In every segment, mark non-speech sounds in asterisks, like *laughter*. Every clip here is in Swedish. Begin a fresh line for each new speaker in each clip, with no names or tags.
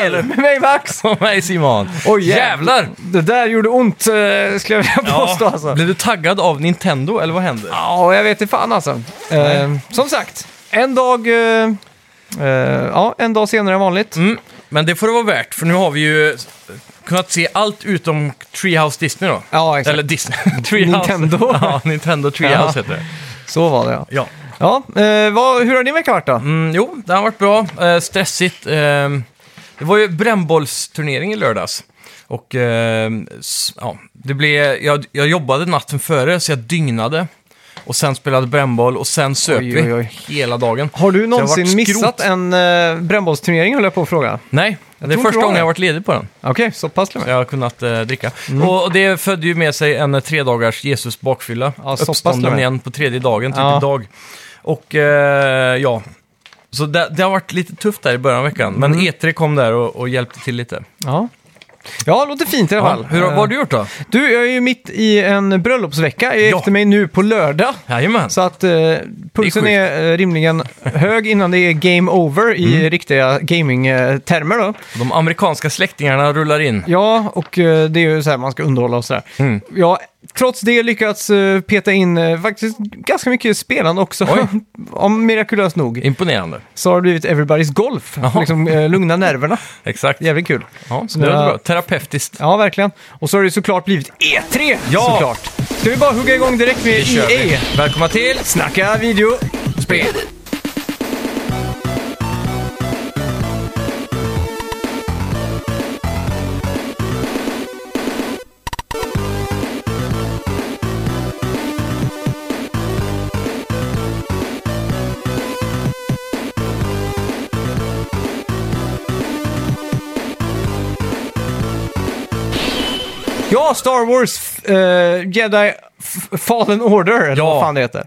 eller?
Med mig Max!
Och mig Simon.
Oj, jäv-
Jävlar!
Det där gjorde ont eh, skulle jag vilja påstå alltså.
Blev du taggad av Nintendo eller vad händer?
Ja, jag vet inte fan alltså. Eh, som sagt, en dag... Eh, eh, ja, en dag senare än vanligt.
Mm. Men det får det vara värt, för nu har vi ju kunnat se allt utom Treehouse Disney då.
Ja, exakt.
Eller Disney. *laughs* Treehouse.
Nintendo.
*laughs* ja, Nintendo Treehouse
Ja.
heter det.
Så var det ja.
Ja.
ja eh, vad, hur har din vecka varit då?
Mm, jo, det har varit bra. Eh, stressigt. Eh, det var ju brännbollsturnering i lördags. Och eh, s- ja, det blev, jag, jag jobbade natten före, så jag dygnade. Och sen spelade brännboll och sen söp
Oj, oj, oj.
vi hela dagen.
Har du
varit
någonsin
skrot.
missat en eh, brännbollsturnering höll jag på att fråga.
Nej, det är
tror inte
första
jag
gången
det.
jag har varit ledig på den.
Okej, så pass till och
Så
med.
jag har kunnat eh, dricka.
Mm.
Och det födde ju med sig en eh, tre dagars Jesus bakfylla.
Ja, så pass till och
Uppstånden
med.
igen på tredje dagen, typ
Ja.
idag. Och eh, ja, så det, det har varit lite tufft där i början av veckan. Men
Mm.
E3 kom där och, och hjälpte till lite.
Ja. Ja, Eh. låter fint i alla fall.
Ja, hur, har- vad har du gjort då?
Du, jag är ju mitt i en bröllopsvecka. Jag är
Ja.
efter mig nu på lördag.
Jajamän.
Så att eh, pulsen
sjukt. Mm.
är, eh, rimligen hög innan det är game over i riktiga gaming-termer då.
De amerikanska släktingarna rullar in.
Ja, och eh, det är ju så här man ska underhålla och sådär.
Mm.
Jag har trots det lyckats eh, peta in eh, faktiskt ganska mycket spelande också.
Oj.
*laughs* Om mirakulöst nog
Imponerande.
så har det blivit Everybody's Golf.
Jaha.
Liksom eh, lugna nerverna.
Exakt.
Jävligt kul.
Ja, så
nu
det
har-
är bra. Terapeutiskt.
Ja, verkligen. Och så har det såklart blivit E3!
Ja.
Såklart. Ska vi bara hugga igång direkt med E
Det kör vi.
EA?
Välkomna till...
Snacka video. Spel. Ja, Star Wars eh, Jedi F- Fallen Order, eller
Ja.
vad fan det heter.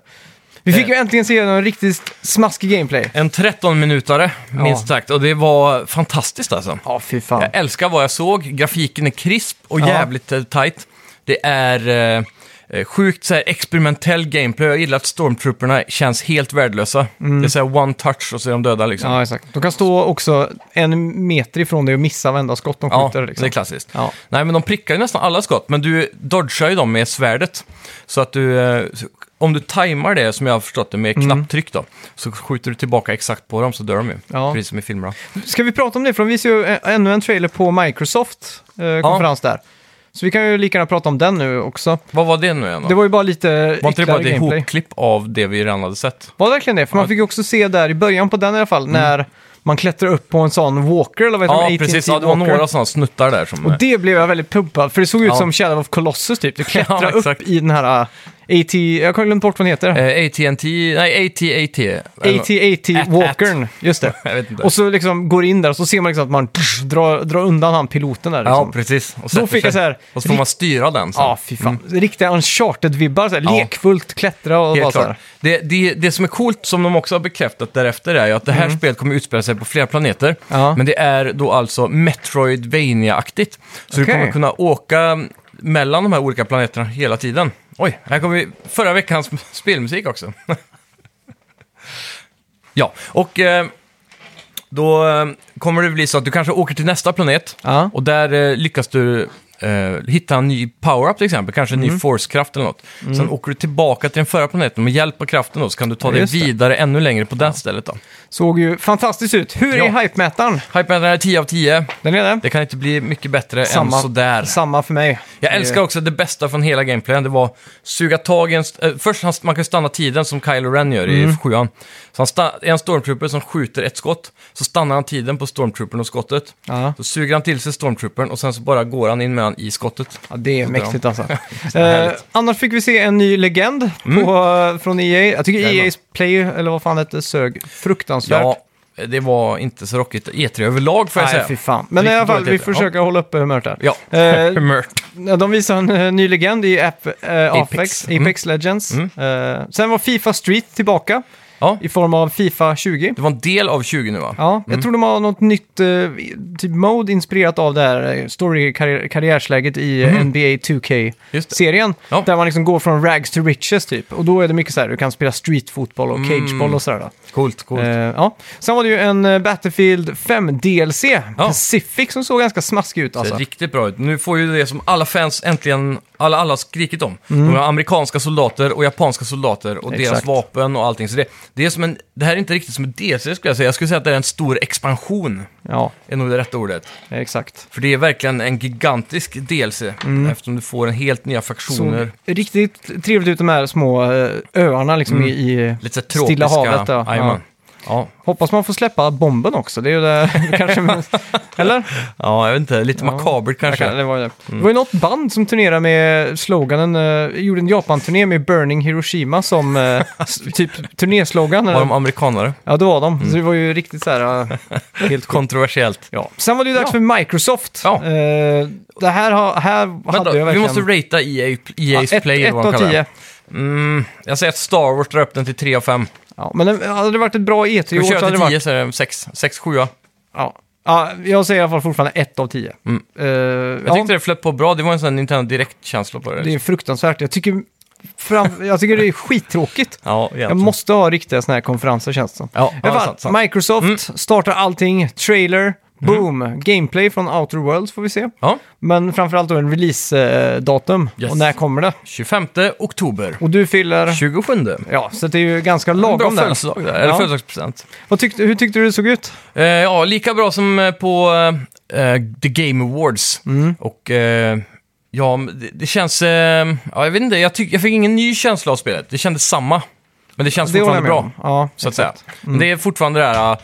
Vi fick
Eh.
ju äntligen se en riktigt smaskig gameplay.
En 13-minutare,
Ja.
minst sagt. Och det var fantastiskt alltså.
Ja, fy fan.
Jag älskar vad jag såg. Grafiken är krisp och
Ja.
jävligt eh, tight. Det är eh, eh, sjukt så här, experimentell gameplay. Jag gillar att stormtrooperna känns helt värdelösa. Det är så här one touch och så är de döda liksom.
Mm. Ja, exakt. De kan stå också en meter ifrån dig och missa varenda skott de
Ja,
skjuter. liksom.
det är klassiskt.
Ja.
Nej, men de prickar ju nästan alla skott, men du dodgar ju dem med svärdet. Så att du, eh, om du tajmar det, som jag har förstått det, med
Mm.
knapptryck då, så skjuter du tillbaka exakt på dem så dör de ju.
Ja.
Precis som i filmerna.
Ska vi prata om det? För de visar ju ä- ännu en trailer på Microsoft eh, konferens där. Så vi kan ju lika gärna prata om den nu också.
Vad var det nu igen då?
Det var ju bara lite
var inte det bara
ytterligare
ett
gameplay.
hopklipp av det vi redan hade sett?
Var det verkligen det? För man
Ja. Mm.
fick ju också se där i början på den i alla fall när man klättrar upp på en sån walker eller vad heter
Ja,
de?
precis.
18
Ja, det var
walker.
några sådana snuttar där som...
Och det blev jag väldigt pumpad för det såg ut
Ja.
som Shadow of Colossus typ. Du klättrar
*laughs* Ja,
upp
exakt.
i den här äh, AT... Jag har glömt bort vad den heter.
Eh, AT&T, nej AT-AT.
AT-AT
At-
Walkern, just det.
*laughs* Jag vet inte.
Och så liksom går in där och så ser man liksom att man drar, drar undan han piloten där.
ja,
Liksom.
precis. Och
Då
sätter
fick jag
sig.
så här-
Och så får man styra den sen.
Ja, fy fan. Riktiga Uncharted-vibbar, så här,
Mm. Ja.
lekfullt klättra och bara
Helt
så här.
klart. Det, det, det som är coolt, som de också har bekräftat därefter, är ju att det här spelet kommer utspela sig på flera planeter.
Mm. Ja.
Men det är då alltså Metroidvania-aktigt. Så du
Okej.
kommer kunna åka mellan de här olika planeterna hela tiden. Oj, här kommer vi, förra veckans spelmusik också. *laughs* ja, och eh, då eh, kommer det bli så att du kanske åker till nästa planet.
Ja.
Och där eh, lyckas du eh, hitta en ny power-up till exempel, kanske en
Mm.
ny force-kraft eller något. Sen åker du tillbaka till den förra planeten och med hjälp av kraften då så kan du ta dig
Just det.
vidare ännu längre på det stället då.
Såg ju fantastiskt ut. Hur
Ja.
är hype-mätaren?
Hypen är 10 av 10.
Den är det?
Det kan inte bli mycket bättre
Samma.
än sådär.
Samma för mig.
Jag älskar också det bästa från hela gameplayen. Det var suga tag i en... st- eh, först han- man kan stanna tiden som Kylo Ren gör i
Mm.
sjuan. Så han sta- är en stormtrooper som skjuter ett skott. Så stannar han tiden på stormtroopern och skottet.
Ja.
Så suger han till sig stormtroopern och sen så bara går han in med han i skottet.
Ja, det är
Sånt där.
mäktigt
*laughs*
alltså. eh,
härligt. Mm.
annars fick vi se en ny legend på, eh, från EA. Jag tycker
Jajamän.
EA's Play, eller vad fan det hette, sög fruktansvärt.
Ja, det var inte så rockigt. E3 överlag får jag
Nej,
säga.
fy fan. Men i
Riktigt
alla fall,
dåligt
vi
heter det.
försöker hålla uppe humöret där.
Ja,
Eh,
humört.
De visar en eh, ny legend i App, eh, Apex,
Apex. Mm.
Apex Legends. Eh, sen var Fifa Street tillbaka.
Ja.
i form av Fifa 20.
Det var en del av 20 nu va?
Ja, jag tror de har något nytt eh, typ mode inspirerat av det här eh, story-karriärsläget i eh, NBA 2K-serien.
Mm. Just
serien
Ja.
Där man liksom går från rags to riches typ. Och då är det mycket så här, du kan spela streetfotboll och cageboll och sådär. Då.
Coolt, Mm. coolt.
Eh, ja. Sen var det ju en eh, Battlefield 5-DLC, Pacific, som såg ganska smaskig ut
Det
alltså.
ser riktigt bra ut. Nu får ju det som alla fans äntligen, alla, alla har skrikit om. De har amerikanska soldater och japanska soldater och deras
Mm. Exakt.
vapen och allting. Så det, det, är som en, det här är inte riktigt som en DLC skulle jag säga. Jag skulle säga att det är en stor expansion,
Ja,
är nog det rätta ordet.
exakt.
För det är verkligen en gigantisk DLC,
Mm.
eftersom du får en helt nya fraktioner.
Såg riktigt trevligt ut de här små eh, öarna liksom
Mm.
i, i...
Lite så här tropiska.
Stilla havet, ja.
Jajamän. Ja.
Hoppas man får släppa bomben också, det är ju det *laughs* kanske...
*laughs*
Eller?
ja, jag vet inte. Lite
Ja.
makabert
Jag
kanske. Mm.
kan, det, var ju det. det var ju något band som turnerade med sloganen, eh, gjorde en Japan-turné med Burning Hiroshima som eh, s- typ turnéslogan.
Var
eller?
de Mm. amerikanare?
Ja, det var de. Så det var ju riktigt så här... eh,
Helt kontroversiellt.
ja. Sen var det ju dags
Ja.
för Microsoft.
Ja.
Eh, det här, har- här hade jag
Vänta, vi
verkligen...
måste E ratea EA, EA's
ja, ett,
Play.
ett
vad de
av
kallar det.
tio.
Mm, jag säger att Star Wars drar upp den till 3 av 5.
Ja, men det- hade det varit ett bra E E3-år
Vi
så
kör
hade det
till
varit...
10 så är det 6, 6 7 Jag
Ja. Ja, jag säger i alla fall fortfarande ett av tio.
Mm.
Eh, ja.
tyckte det flöt på bra, det var en sån här Nintendo Direkt-känsla på det.
Det är fruktansvärt. Jag tycker, fram, jag tycker det är skittråkigt.
Ja, egentligen.
Jag måste ha riktiga sådana här konferenser känns det som.
Ja,
I alla
ja,
fall,
sant, Mm. sant.
Microsoft startar allting, trailer, boom, gameplay från Outer Worlds får vi se.
Ja,
Men framförallt då en release-datum
Yes.
och när kommer det?
25 oktober.
Och du fyller...
27.
Ja, så det är ju ganska
Bra
lagom där.
födelsedag där, eller
Ja.
födelsedagspresent.
Vad tyckte, hur tyckte du det såg ut?
Eh, ja, lika bra som eh, på eh, The Game Awards.
Mm.
Och eh, ja, men det, det känns... Eh, ja, jag vet inte, jag, tyck, jag fick ingen ny känsla av spelet. Det kändes samma. Men det känns
håller
fortfarande
jag med
bra,
om. Ja,
så att säga.
exakt. Mm.
Men det är fortfarande det här eh,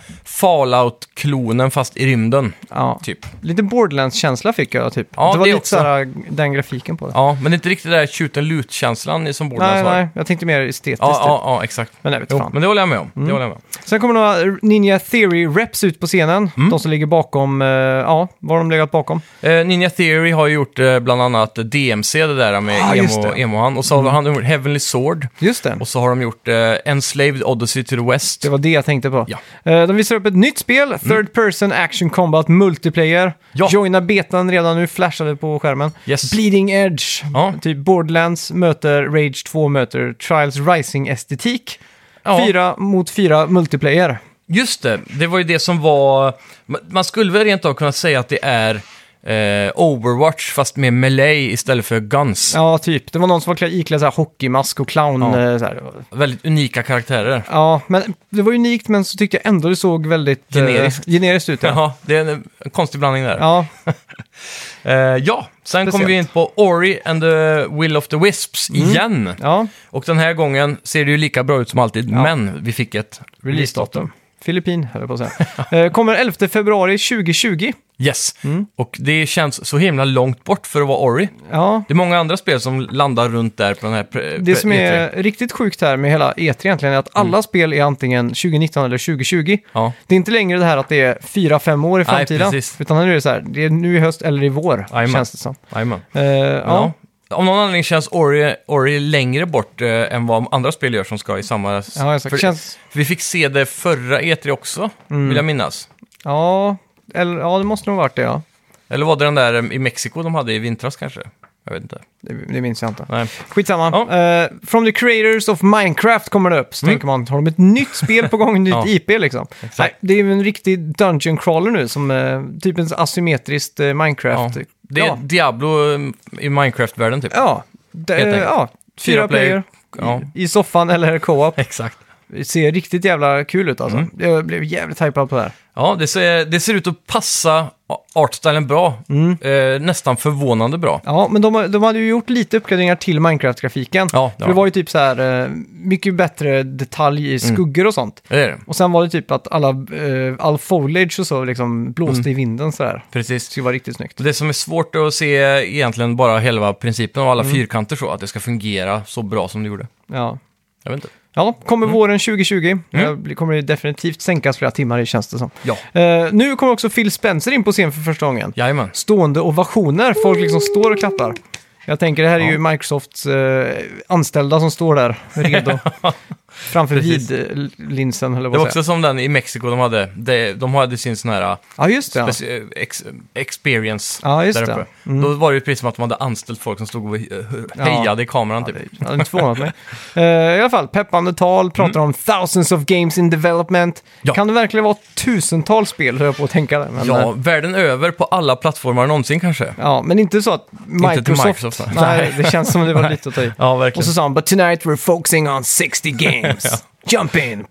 Fallout-klonen fast i rymden,
Ja.
typ.
Lite Borderlands-känsla fick jag typ.
Ja,
det var
det
lite
också.
såhär, den grafiken på det.
Ja, men det är inte riktigt den där shoot and loot-känslan som
nej,
Borderlands har.
nej, jag tänkte mer estetiskt.
Ja,
typ.
ja, ja, exakt.
Men jag vet
Jo,
fan. Mm.
men det håller jag med om. Det håller jag med om.
Sen kommer några Ninja Theory-reps ut på scenen.
Mm.
De som ligger bakom, eh, ja, vad har de legat bakom?
Eh, Ninja Theory har ju gjort eh, bland annat DMC, det där med
Ah, just
emo,
det. Mm.
emohan. Och så har han gjort Heavenly Sword.
Just det.
Och så har de gjort eh, Enslaved Odyssey to the West.
Det var det jag tänkte på.
Ja.
Eh, De visar upp ett nytt spel, Third Person Action Combat Multiplayer.
Ja.
Joina betan redan nu, flashade på skärmen.
Yes.
Bleeding Edge,
Ja.
typ Borderlands möter Rage 2 möter Trials Rising-estetik.
Ja.
Fyra mot fyra multiplayer.
Just det, det var ju det som var... ma- Man skulle väl rent av kunna säga att det är eh, Overwatch fast med melee istället för guns.
Ja, typ. Det var någon som var klä- iklädd så här hockeymask och clown.
Ja.
eh, Så här.
Väldigt unika karaktärer.
ja, men det var unikt men så tyckte jag ändå det såg väldigt eh,
Generiskt.
generiskt ut. Ja.
Ja, det är en, en konstig blandning där.
Ja,
Eh, ja, sen kommer vi in på Ori and the Will of the Wisps
Mm.
igen.
ja.
Och den här gången ser det ju lika bra ut som alltid,
Ja.
men vi fick ett
Releasedatum. Filippin, höll jag på att
*laughs*
säga. Eh, Kommer 11 februari 2020.
Yes,
Mm.
och det känns så himla långt bort för att vara Ori.
Ja,
Det är många andra spel som landar runt där på den här... Pre-
det
pre- E
som
E3.
är riktigt sjukt här med hela E3 egentligen är att alla
Mm.
spel är antingen 2019 eller 2020.
Ja.
Det är inte längre det här att det är 4-5 år i
Nej,
framtiden.
precis.
utan nu är det så här, det är nu i höst eller i vår,
Jajamän.
känns det som.
Jajamän.
Eh, ja.
Ja. Av någon anledning känns Ori, Ori längre bort eh, än vad andra spel gör som ska i samma...
Ja, exakt. Mm.
för,
Känns,
Vi fick se det förra E3 också, vill jag minnas.
ja, eller, ja, det måste nog ha varit det ja.
Eller var det den där eh, i Mexiko de hade i vintras kanske? Jag vet inte.
Det, det minns jag inte.
Nej.
Skitsamma.
Ja. Mm.
Eh, from the creators of Minecraft kommer det upp. Så tänker man, har de ett nytt spel på gång, ett nytt
*laughs* Ja.
IP liksom? Nej, det är ju en riktig dungeon crawler nu, som eh, typ en asymmetriskt eh,
Ja.
Minecraft.
Det är
Ja.
Diablo eh, i Minecraft-världen typ.
Ja, det,
Helt enkelt.
ja. Fyra,
Fyra player.
player, *laughs*
Ja.
i soffan eller co-op.
Exakt.
Det ser riktigt jävla kul ut
Mm.
alltså. Jag blev jävligt hypad på det här.
Ja, det ser, det ser ut att passa artstylen bra.
Mm.
Eh, nästan förvånande bra.
Ja, men de, har- de hade ju gjort lite uppgraderingar till Minecraft-grafiken.
Ja, det
För
Mm. har
det
de.
var ju typ så här, eh, mycket bättre detalj i skuggor och sånt.
Det är det.
Och sen var det typ att alla, eh, all foliage och så liksom blåste
Mm.
i vinden sådär. Det
Precis.
skulle vara riktigt snyggt.
Det som är svårt är att se egentligen bara hela principen och alla fyrkanter så, att det ska fungera så bra som det gjorde.
Ja,
Jag vet inte.
ja kommer
Mm.
våren 2020. Jag kommer det definitivt sänkas flera timmar i känns det som.
Ja,
Eh, nu kommer också Phil Spencer in på scen för första gången.
jajamän.
Stående ovationer, folk liksom står och klappar. Jag tänker det här är
Ja. *laughs*
ju Microsofts eh, anställda som står där redo. Framför
Precis.
vidlinsen, eller
Det
vad
var
jag säga.
också som den i Mexiko de hade. De, de hade sin sån här
Ja, just det. ja.
speci- eh, ex, experience
Ja, just
där
det.
uppe. Då var det ju precis som att de hade anställt folk som stod och eh, hejade i kameran typ.
Jag hade inte förvånat mig. Eh, I alla fall, peppande tal, pratar om thousands of games in development.
Mm. Ja.
Kan det verkligen vara tusentals spel, höll jag på att tänka där. Men,
Ja,
eh,
världen över på alla plattformar någonsin kanske.
ja, men inte så att Microsoft...
till Microsoft, va?
nej, det känns som det var lite att ta i.
*laughs* Ja,
Och
verkligen.
så sa han “But tonight we're focusing on 60
*laughs*
games. Jump in!”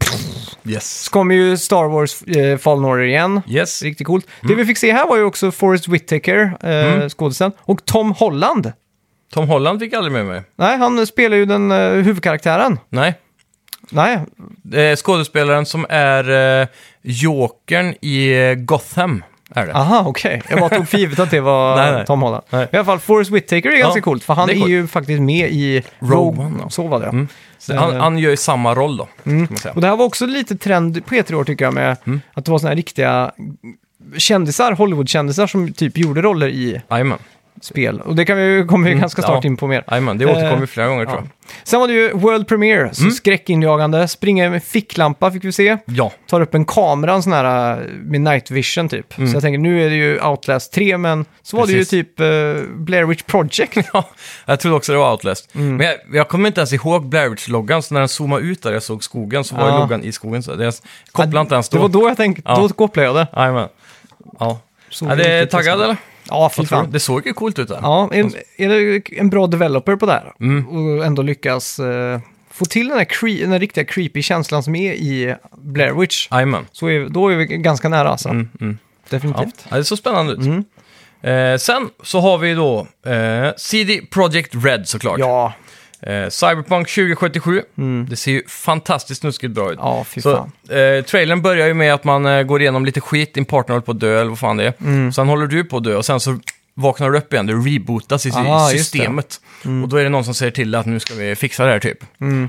Yes.
Så kom ju Star Wars eh, Fallen Order igen.
Yes. Mm.
Riktigt coolt. Det vi fick se här var ju också Forrest Whitaker, eh, skådisen, och Tom Holland.
Tom Holland fick aldrig med mig.
Nej, han spelar ju den eh, huvudkaraktären.
Nej.
Nej,
Eh, skådespelaren som är eh, Jokern i eh, Gotham är det.
aha, okej. Jag bara tog för givet att det var
*laughs* Nej, nej.
Tom Holland.
Nej.
I alla fall, Forrest Whitaker är ganska coolt, för han
det
är,
är coolt.
ju faktiskt med i
Rogue
Rogue
One, ja.
Så var det, ja.
Så han,
eh, Mm.
han gör ju samma roll då, kan man säga.
Och det här var också lite trend på E3 år tycker jag, med
Mm.
att det var såna här riktiga kändisar, Hollywood-kändisar som typ gjorde roller i
Jajamän.
spel. Och det kan vi, kommer vi ganska snart
Mm. ja.
in på mer.
Jajamän, det
Eh,
återkommer ju flera gånger tror
Ja.
jag.
Sen var det ju World Premiere,
Mm.
så skräckinjagande. Springa med ficklampa fick vi se.
Ja, *laughs*
Tar upp en kamera, en sån här eh, med night vision typ. Så jag tänker, nu är det ju Outlast 3, men så var
Mm. Precis.
det ju typ eh, Blair Witch
*laughs*
Project.
Ja, jag trodde också det var Outlast.
Mm.
Men jag, jag kommer inte ens ihåg Blair Witch-loggan, så när den zoomade ut där jag såg skogen så var
Ja.
ju loggan i skogen. Så det, jag kopplade inte ens
Det var
då.
då jag tänkte,
Ja.
då kopplade jag det.
Jajamän. Ja.
Så
Är det
riktigt
taggad
intressant.
eller?
Ja, fy
Vad tror du?
fan.
Det såg ju coolt ut där.
Ja, är, är det en bra developer på det här?
Mm.
Och ändå lyckas eh, få till den här, cre- den här riktiga creepy känslan som är i Blair Witch.
Jajamän.
Så är, då är vi ganska nära alltså.
Mm, Ja.
Definitivt.
ja, det såg spännande ut.
Mm.
Eh, sen så har vi då eh, CD Projekt Red såklart.
Ja, Mm.
Eh, Cyberpunk 2077. Det ser ju fantastiskt snuskigt bra ut.
ja fy
Så,
fan.
eh, trailern börjar ju med att man eh, går igenom lite skit, din partner håller på att dö eller vad fan det är.
Mm.
Sen håller du på att dö och sen så vaknar du upp igen, du rebootas i, i
Aha, Ah, just det. Mm.
systemet. Och då är det någon som säger till att nu ska vi fixa det här typ.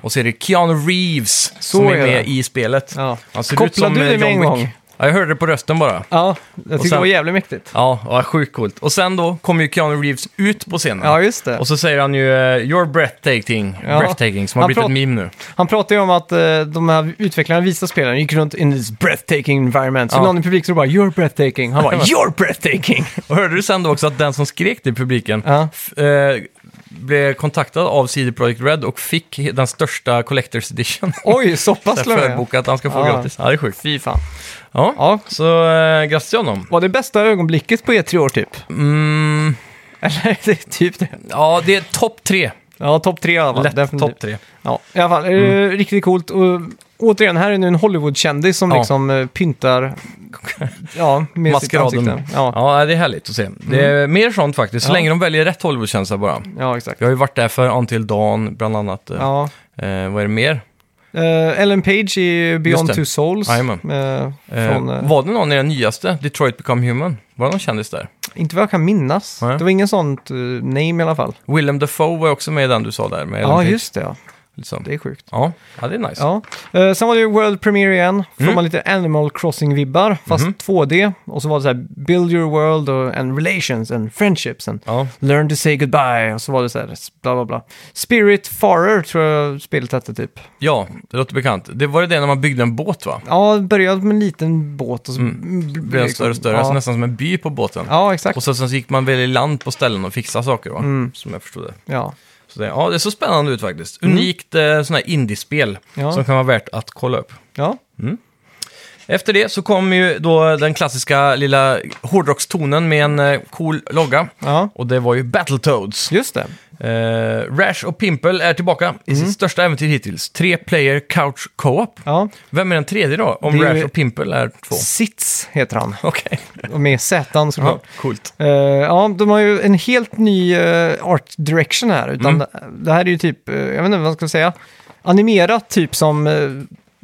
Och så är det Keanu Reeves som är,
är
med
det.
i spelet.
Ja.
Han ser ut
Kopplar
som
du
eh,
det med en
John Wick.
gång?
Ja, jag hörde det på rösten bara.
Ja, jag tyckte
sen-
det var jävligt mäktigt.
Ja, ja sjukt coolt. Och sen då kommer ju Keanu Reeves ut på scenen.
Ja, just det.
och så säger han ju eh, “You're breathtaking”,
Ja.
breathtaking som har
Han
blivit ett
prat-
meme nu.
Han pratade ju om att eh, de här utvecklarna visade spelen gick runt in this breathtaking environment. Så
Ja.
någon i publiken så bara “You're breathtaking”. Han
*laughs*
bara “You're breathtaking”.
Och hörde du sen då också att den som skrek till publiken
Ja.
f- eh, blev kontaktad av CD Projekt Red och fick he- den största Collector's Edition.
Oj, så pass *laughs*
Där
slår jag.
Förbokat, han ska få
Ja.
gratis. Ja, det är sjukt.
Fy fan.
Ja.
Ja,
Så eh, grattis till honom.
var det bästa ögonblicket på E3 år typ? *laughs*
Mm,
Eller det är typ det.
ja, det är topp tre.
Ja, topp tre i alla fall.
Lätt
definitivt.
topp Mm. tre.
Ja, i alla fall. eh, Riktigt coolt. Och, återigen, här är nu en Hollywood-kändis som
Ja.
liksom eh,
*laughs*
pyntar ja, med sitt
Maskeraden.
ansikte. Ja,
Ja, det är härligt att se. Det är mer sånt faktiskt, så
Mm. Ja.
länge de väljer rätt Hollywoodkändisar bara.
ja, exakt.
Jag har ju varit där för Until Dawn, bland annat. eh,
Ja.
Eh, vad är det mer?
Eh, Ellen Page i Beyond
det.
Two Souls.
Jajamän.
eh,
Eh,
från, eh,
var det någon i den nyaste, Detroit Become Human? Var det någon kändis där?
inte vad jag kan minnas.
Nej.
Det var ingen sånt eh, name i alla fall.
Willem Dafoe var ju också med i den du sa där. Med Ellen
ja,
Page,
just det. Ja.
liksom.
Det är sjukt.
Ja. ja, det är nice.
Ja. Eh, sen var det ju World Premiere igen. Får
Mm. Mhm.
man lite Animal Crossing-vibbar, fast 2D. Och så var det så här Build Your World och, and Relations and Friendships and
Ja.
Learn to Say Goodbye. Och så var det så här bla bla bla. Spirit Farer tror jag spelet hette typ.
ja, det låter bekant. Det var det det när man byggde en båt va?
Ja, det började med en liten båt och så...
Det Mm. blev större och större,
Ja,
alltså nästan som en by på båten.
ja exakt.
Och sen, sen så gick man väl i land på ställen och fixade saker va?
Mm.
Som jag förstod det.
Ja.
Så det, ja, det såg spännande ut faktiskt. Unikt eh, sån här indiespel
Mm. Ja.
som kan vara värt att kolla upp.
ja.
Efter det så kom ju då den klassiska lilla hårdrockstonen med en eh, cool logga.
Ja,
Och det var ju Battletoads.
just det.
Eh, Rash och Pimple är tillbaka i
Mm.
sitt största äventyr hittills. Tre player couch co-op.
Ja.
Vem är den tredje då? Om
Det är ju-
Rash och Pimple är två.
Sits heter han.
Okej.
Och Med
*laughs*
Z såklart.
Coolt.
Eh, ja, de har ju en helt ny eh, art direction här.
Mm.
Utan det, det här är ju typ, eh, jag vet inte vad man ska säga, animerat typ som eh,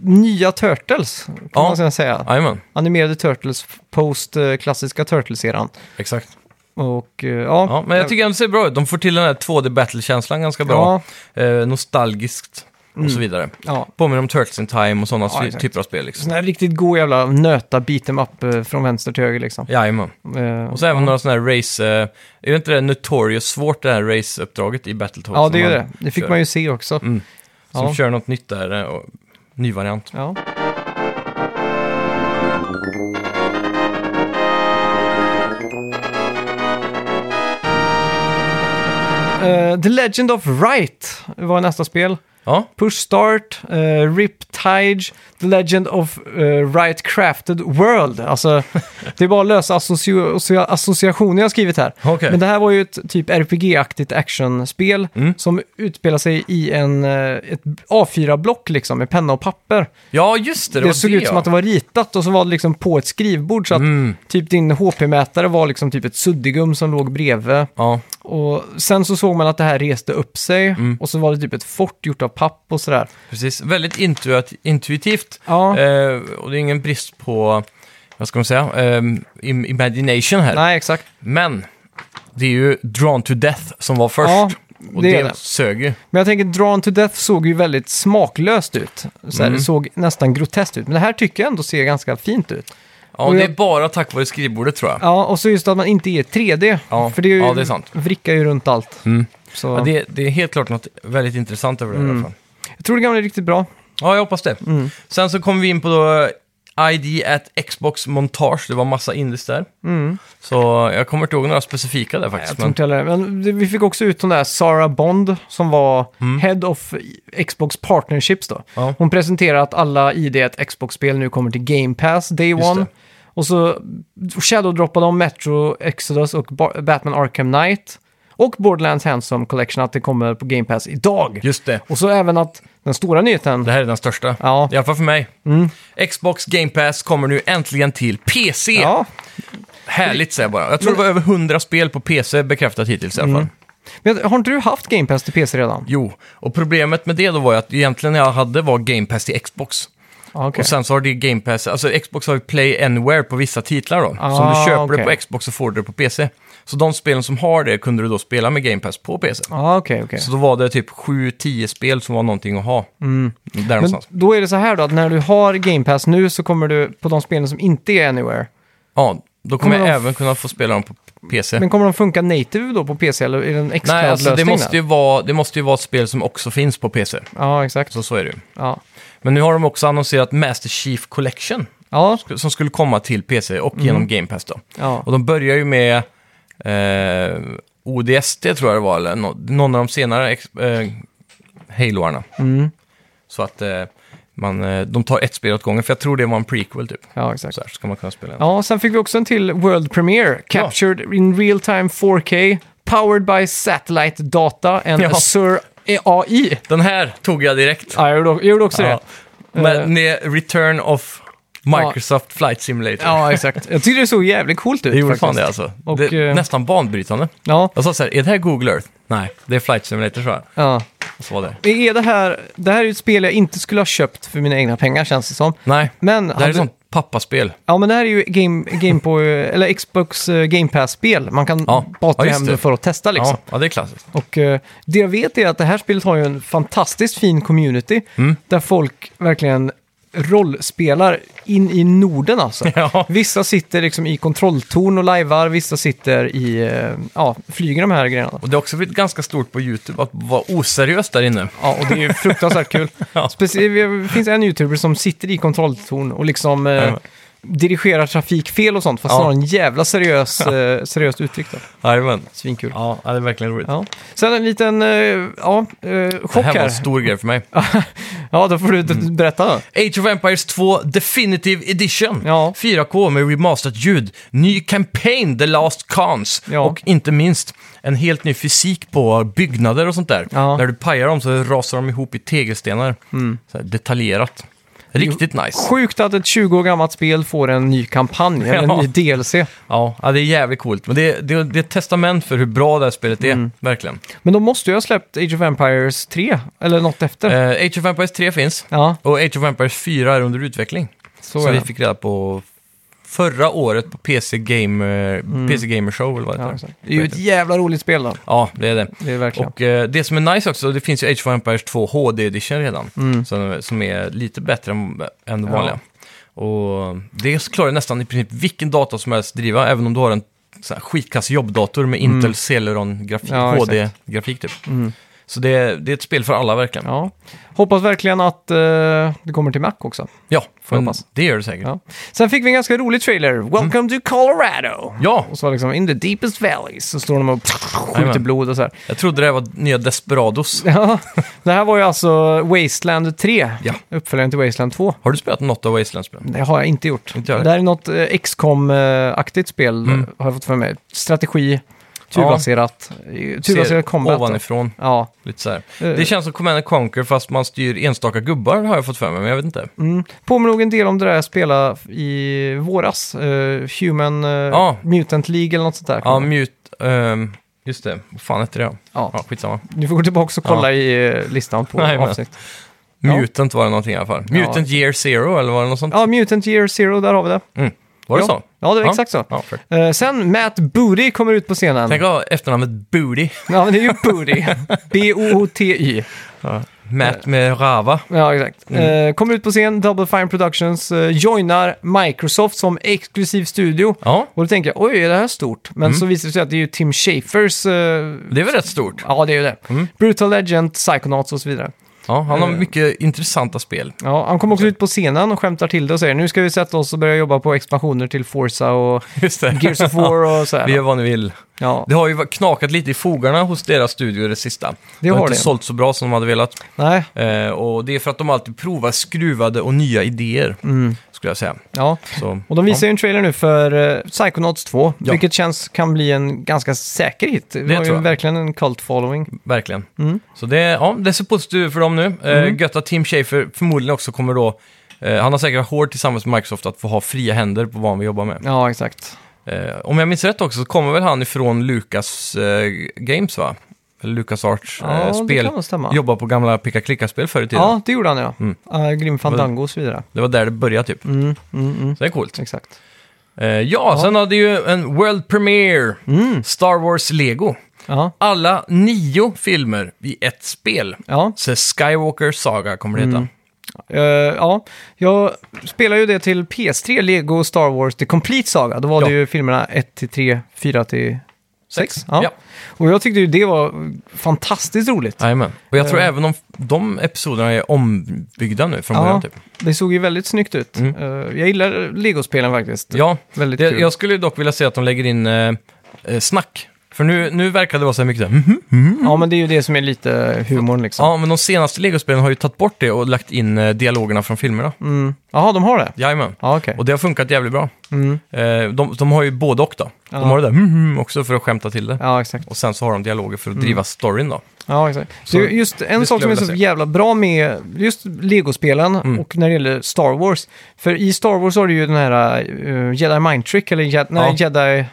nya Turtles. Kan
Ja.
man ska säga.
Jajamän,
Animerade Turtles post eh, klassiska Turtles-eran.
exakt.
Och eh, ja,
Ja, men jag tycker ändå det ser bra ut. De får till den här 2D-battle-känslan ganska bra. Eh, nostalgiskt och så vidare.
ja.
Påminner om Turtles in Time och sådana
Mm. Ja,
sy-
exakt.
typer av spel. Liksom.
Sån här riktigt god jävla nöta beat em up eh, från vänster till höger liksom.
Jajamän.
Eh,
Och så även några sådana här race... Eh, är det inte det notorious svårt det här race-uppdraget i Battletoads?
ja,
som
det är ju
man
det. Det fick
kör? Mm.
man ju se också.
Som
Ja.
kör något nytt där. eh, Och Ny variant.
Ja. Eh, The Legend of Right var nästa spel.
Ja,
Push Start, eh, Riptide, The Legend of eh, Right Crafted World.
*laughs*
Alltså, det är bara lösa associ- associa- associationer jag har skrivit här.
okej.
Men det här var ju ett typ RPG-aktigt actionspel
Mm.
som utspelar sig i en, eh, ett A4-block liksom med penna och papper.
Ja, just det.
Det,
Det, var
såg
det,
ut som
ja.
att det var ritat och så var det liksom på ett skrivbord så att
Mm,
typ din HP-mätare var liksom typ ett suddigum som låg bredvid.
ja.
Och sen så såg man att det här reste upp sig
Mm.
och så var det typ ett fort gjort av papp och sådär.
Precis, väldigt intuit- intuitivt.
Ja,
Eh, och det är ingen brist på, vad ska man säga, eh, im- imagination här.
nej exakt.
Men det är ju Drawn to Death som var först.
Ja,
och
det
det,
är det.
sög ju.
Men jag tänker Drawn to Death såg ju väldigt smaklöst ut. Så
Mm.
här, Det såg nästan groteskt ut. Men det här tycker jag ändå ser ganska fint ut.
Ja,
Och
det
jag-
är bara tack vare skrivbordet tror jag.
Ja, och så just att man inte är 3D.
Ja,
för det, är ju,
ja, det är sant.
vrickar ju runt allt.
Mm.
Så
Ja, det, det är helt klart något väldigt intressant över det
Mm.
i alla fall.
Jag tror det gamla är riktigt bra.
Ja, jag hoppas det.
Mm.
Sen så kom vi in på då ID at Xbox Montage. Det var massa indies där. Så jag kommer inte ihåg några specifika där
Mm. Jag
faktiskt.
tror
Men,
inte heller. Men det- vi fick också ut den där Sarah Bond som var Head of Xbox Partnerships då.
Mm. ja.
Hon presenterade att alla id ett Xbox-spel nu kommer till Game Pass Day
Just
One.
det.
Och så shadowdroppade de Metro Exodus och Ba- Batman Arkham Knight. Och Borderlands Handsome Collection att det kommer på Game Pass idag.
Just det.
Och så även att den stora nyheten...
Det här är den största.
Ja, Mm.
I alla fall för mig. Xbox Game Pass kommer nu äntligen till PC.
ja,
Härligt säger jag bara. Jag tror det var över 100 spel på PC bekräftat hittills i alla
Mm.
fall.
men har inte du haft Game Pass till PC redan?
Jo, och problemet med det då var ju att egentligen jag hade var Game Pass till Xbox.
Ja, okej.
Och sen så har det Game Pass, alltså Xbox har ju Play Anywhere på vissa titlar då. så om
Ah,
du köper det
okej.
på Xbox så får du det på PC. Så de spelen som har det kunde du då spela med Game Pass på PC.
Ja, okej, okej.
Så då var det typ 7-10 spel som var någonting att ha. Där
Mm. Men
någonstans.
då är det så här då, att när du har Game Pass nu så kommer du på de spelen som inte är Anywhere.
Ja, då kommer
Kommer
jag
de-
även kunna få spela dem på PC.
Men kommer de funka native då på PC eller är det en extra
Nej, alltså det
lösning
måste, ju vara, det måste ju vara ett spel som också finns på PC.
Ja, exakt.
Så så är det ju.
Ja.
Men nu har de också annonserat Master Chief Collection.
Ja,
Som skulle komma till PC och genom Game Pass då.
Mm. ja.
Och de börjar ju med eh, ODST tror jag det var, eller nå- någon av de senare ex- eh, Haloarna.
Mm.
Så att eh, man, eh, de tar ett spel åt gången, för jag tror det var en prequel typ.
ja exakt.
Så här ska man kunna spela. Ja.
Ja, sen fick vi också en till World Premiere. Captured in real time 4K, powered by satellite data and
Ja.
Azure AI.
Den här tog jag direkt.
Ja, jag gjorde, jag gjorde också det.
Ja. Men det är Return of Microsoft Flight Simulator.
Ja, exakt. Jag tyckte det såg jävligt coolt ut
Det gjorde
faktiskt.
fan det alltså.
Och,
det är
eh,
nästan banbrytande.
Ja,
Jag sa så här, är det här Google Earth? Nej, det är Flight Simulator så här.
ja.
Och så var det.
Är det här... Det här är ju ett spel jag inte skulle ha köpt för mina egna pengar känns det som.
Nej,
Men
det här är ett sånt pappaspel.
Ja, men det här är ju game, game på, eller Xbox eh, Game Pass-spel. Man kan
Ja.
bara ta
Ja, just
hem
det.
det för att testa liksom.
Ja, ja, det är klassiskt.
Och eh, det jag vet är att det här spelet har ju en fantastiskt fin community.
Mm.
Där folk verkligen rollspelar in i Norden alltså.
Ja.
Vissa sitter liksom i kontrolltorn och lajvar, vissa sitter i, eh, ja, flyger de här grejerna.
Och det har också blivit ganska stort på YouTube att vara oseriös där inne.
Ja, och det är ju fruktansvärt kul.
*laughs* Ja.
Specie- det finns en YouTuber som sitter i kontrolltorn och liksom eh,
Ja.
dirigerar trafikfel och sånt, fast
Ja.
han har en jävla seriös, eh, seriöst uttryck då.
Jajamän.
Svinkul. Ja.
Ja, det är verkligen roligt.
Sen en liten, eh, ja, eh,
Det
chock
här var en
här.
stor Mm. grej för mig.
Ja, då får du d- berätta då.
Age of Empires 2 Definitive Edition.
Ja.
4K med remasterat ljud, ny campaign, The Last Cons
Ja.
och inte minst en helt ny fysik på byggnader och sånt där.
Ja.
När du pajar dem så rasar de ihop i tegelstenar. Så här detaljerat. Riktigt nice.
Sjukt att ett 20 år gammalt spel får en ny kampanj, eller en
Ja.
ny DLC.
Ja, ja, det är jävligt coolt. Men det, det, det är ett testament för hur bra det här spelet är,
Mm.
verkligen.
Men de måste ju ha släppt Age of Empires 3, eller något efter.
Eh, Age of Empires 3 finns
ja,
och Age of Empires 4 är under utveckling.
så,
som
är
vi
det.
fick reda på förra året på PC, Game, eh, PC Gamer Show. Eller vad det
Mm. Ja,
heter.
exakt. det är ju ett jävla roligt spel då.
ja, det är det.
Det är verkligen.
Och eh, det som är nice också, det finns ju Age of Empires 2 HD Edition redan. Som, som är lite bättre än, än det
Mm. Ja.
vanliga. Och det klarar nästan i princip vilken dator som helst driva, även om du har en sån här skitkass jobbdator med Intel Celeron-grafik,
Mm. Ja, exakt. Mm.
HD-grafik typ. Så det, det är ett spel för alla verkligen. Ja,
Ja. Hoppas verkligen att eh, det kommer till Mac också. får
men
hoppas.
det gör det säkert. Ja,
Ja. Sen fick vi en ganska rolig trailer.
Mm.
Welcome to Colorado! Och så var det liksom in the deepest valleys. Så står de och skjuter
Jajamän.
blod och så här.
jag trodde det här var
*laughs*
nya Desperados.
Ja, det här var ju alltså Wasteland 3.
Ja.
Uppföljaren till Wasteland 2.
Har du spelat något av Wasteland-spelen?
Det har jag inte gjort.
Inte jag. Mm.
Det här är något eh, XCOM-aktigt spel, har jag fått för mig. Strategi, turbaserat, eh, turbaserat combat. då.
Ovanifrån,
Ja,
lite så här.
Eh.
Det känns som Command and Conquer fast man styr enstaka gubbar har jag fått för mig, men jag vet inte.
mm. påminner nog en del om det där jag spelade i våras. eh, Human eh,
Ja.
Mutant League eller något sånt där.
Ja, Mute... ehm, just det, vad fan hette det då?
Ja.
Ja, skitsamma.
Du får gå tillbaka och kolla i eh, listan på
*laughs* Nej, men-
avsnitt. Ja.
Mutant var det någonting i alla fall.
Ja.
Mutant Year Zero eller var det något sånt?
Ja, Mutant Year Zero, där har vi det.
Var det
ja.
så?
Ja, det var
Ja.
exakt så.
Ja, för.
Eh, sen Matt Booty kommer ut på scenen.
Tänk att ha efternamnet Booty.
Ja, men det är ju
*laughs*
Booty. B-O-O-T-Y.
Matt med Rava.
Ja, exakt.
Mm.
Eh, kommer ut på scen, Double Fine Productions, eh, joinar Microsoft som exklusiv studio.
Ja,
Och då tänker jag, oj, är det här stort? Men
Mm.
så visar det sig att det är ju Tim Schafers... eh,
det är väl rätt stort.
ja, det är ju det.
Mm.
Brutal Legend, Psychonauts och så vidare.
Ja, han har
Eh.
mycket intressanta spel.
Ja, han kommer också ut på scenen och skämtar till det och säger, nu ska vi sätta oss och börja jobba på expansioner till Forza
*laughs*
och
Just det.
Gears of War och så
*laughs* Vi gör
här.
vad ni vill.
Ja,
Det har ju knakat lite i fogarna hos deras studio det sista.
har
inte
det.
sålt så bra som de hade velat.
nej,
Eh, och det är för att de alltid provar skruvade och nya idéer,
Mm.
skulle jag säga.
ja.
Så,
Och de visar ju en trailer nu för eh, Psychonauts 2,
Ja.
vilket känns kan bli en ganska säker hit. Det,
Det
har ju
tror jag. Mm.
verkligen en cult following.
ja, verkligen.
Mm.
Så det, ja, det ser positivt ut för dem nu. Eh, gött att Tim Schafer förmodligen också kommer då... Eh, han har säkert varit hård tillsammans med Microsoft att få ha fria händer på vad han vill jobba med.
Ja, exakt.
Eh, om jag minns rätt också så kommer väl han ifrån Lucas eh, Games va? Eller Lucas Arts
Ja,
eh,
det
spel.
kan nog stämma.
Jobba på gamla picka-klicka-spel förr i tiden.
Ja, det gjorde han ja. Mm. Grim Fandango och så vidare.
Det var där det började typ.
Mm, mm, mm.
Så det är coolt.
Exakt.
Eh, ja, sen hade ju en World Premiere,
Mm.
Star Wars Lego.
Ja,
Alla nio filmer i ett spel.
ja.
Så Skywalker Saga kommer det heta.
Eh, ja. Jag spelar ju det till PS3, Lego Star Wars The Complete Saga. Då var det
Ja.
ju filmerna 1 till 3, 4 till 6. Ja.
Ja.
Och jag tyckte ju det var fantastiskt roligt.
Jajamän. Och jag tror även om de episoderna är ombyggda nu från
Eh. Ja.
början typ.
Det såg ju väldigt snyggt ut. Eh, jag gillar Lego-spelen faktiskt.
Mm. Ja,
Väldigt
det,
kul.
jag skulle dock vilja se att de lägger in eh, eh, snack. För nu, nu verkar det vara så här mycket så här, "Mhm."
Ja, men det är ju det som är lite humorn liksom.
Ja, men de senaste Lego-spelen har ju tagit bort det och lagt in eh, dialogerna från filmerna.
Mm. Jaha, de har det?
Jajamän.
Ja, okej.
Och det har funkat jävligt bra.
Mm.
Eh, de, de har ju både och då.
Ja.
De har det där "Mhm" också för att skämta till det.
Ja, exakt.
Och sen så har de dialoger för att
Mm.
driva storyn då.
Ja, exakt.
Så
det är just en
det
sak som är
skulle jag
så
vilja Mm.
jävla bra med just Lego-spelen och när det gäller Star Wars. För i Star Wars har du ju den här eh, Jedi Mind Trick, eller Je- nej, Jedi... eh,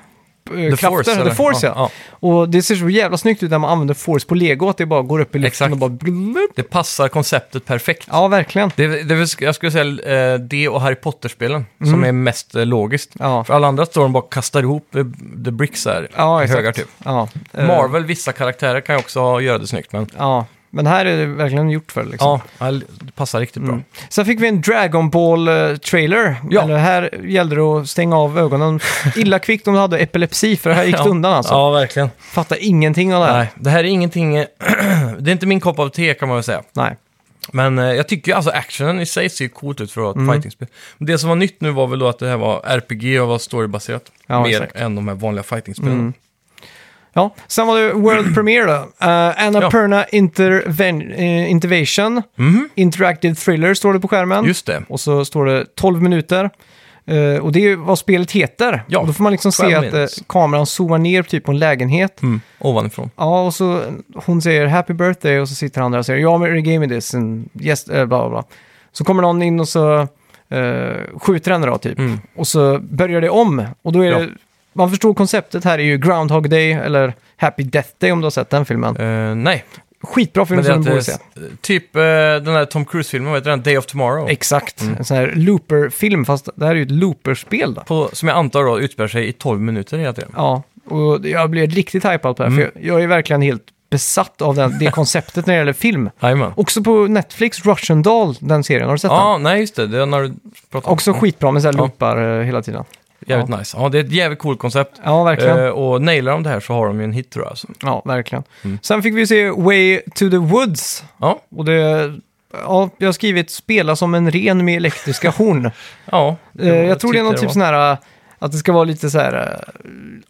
krafter,
eller?
The Force ja.
ja.
Och det ser så jävla snyggt ut när man använder Force på Lego, att det bara går upp i luften
Exakt.
och bara... blup.
Det passar konceptet perfekt.
Ja, verkligen.
Det, det, är väl- jag skulle säga eh, det och Harry Potter-spelen som
Mm.
är mest eh, logiskt.
Ja.
För alla andra står de bara och kastar ihop eh, the bricks här.
Ja,
i
exakt.
högar typ.
Ja. Eh,
Marvel, vissa karaktärer kan ju också göra det snyggt, men liksom,
Ja, men här är det verkligen gjort för liksom.
ja, all- det passar riktigt bra.
Sen fick vi en Dragon Ball-trailer.
Ja.
Eller här gällde det att stänga av
*laughs*
ögonen illa kvickt om du hade epilepsi, för här gick det
Ja.
undan alltså.
Ja, verkligen.
Fattar ingenting av det här.
Nej, det här är ingenting... eh, *clears throat* det är inte min kopp av te kan man väl säga.
Nej.
Men eh, jag tycker ju, alltså actionen i sig ser ju coolt ut för att vara ett
Mm.
fightingspel. Men det som var nytt nu var väl då att det här var RPG och var storybaserat.
Ja,
mer
exakt. Mm.
än de här vanliga fightingspelen.
Ja, sen var det World Premiere då. Uh, Annapurna Interven- eh, Intervention. Interactive Thriller står det på skärmen.
Mhm. Mm. Just det.
Och så står det 12 minuter. Eh, och det är ju vad spelet heter.
Ja,
och då får man liksom se
12
att eh,
minutes.
kameran zoomar ner typ på en lägenhet.
Mm. Ovanifrån.
Ja, och så hon säger happy birthday och så sitter han där och säger ja, men regame this and yes, eh, bla bla bla. Så kommer någon in och så eh, skjuter henne då typ.
Mm.
Och så börjar det om. Och då är
Ja.
det, man förstår konceptet här är ju Groundhog Day eller Happy Death Day om du har sett den filmen.
Eh, nej,
Skitbra film
men det är
som du borde
att,
se.
eh, typ eh, den här Tom Cruise-filmen, vad heter den? Day of Tomorrow.
Exakt,
Mm.
en sån här looper-film fast det här är ju ett looper-spel då.
På, som jag antar då utspelar sig i 12 minuter hela tiden.
Ja, och jag blev riktigt hypad på det här
Mm.
för jag, jag är verkligen helt besatt av den, det konceptet när det gäller film.
Jajamän.
Också på Netflix, Russian Doll, den serien, har du sett den?
Ja, nej just det. Det är när du pratar om.
Också skitbra med så här
Ja.
loopar eh, hela tiden.
Jävligt nice. Ja, det är ett jävligt coolt koncept.
Ja, verkligen.
Eh, och nailar de det här så har de ju en hit tror jag. Alltså.
Ja, verkligen.
Mm.
Sen fick vi se Way to the Woods.
Ja,
Och det... Ja, jag har skrivit spela som en ren med
*laughs*
elektriska horn.
ja.
Eh, jag tror det är någon
tyckte
typ
var.
sån här, eh, att det ska vara lite så här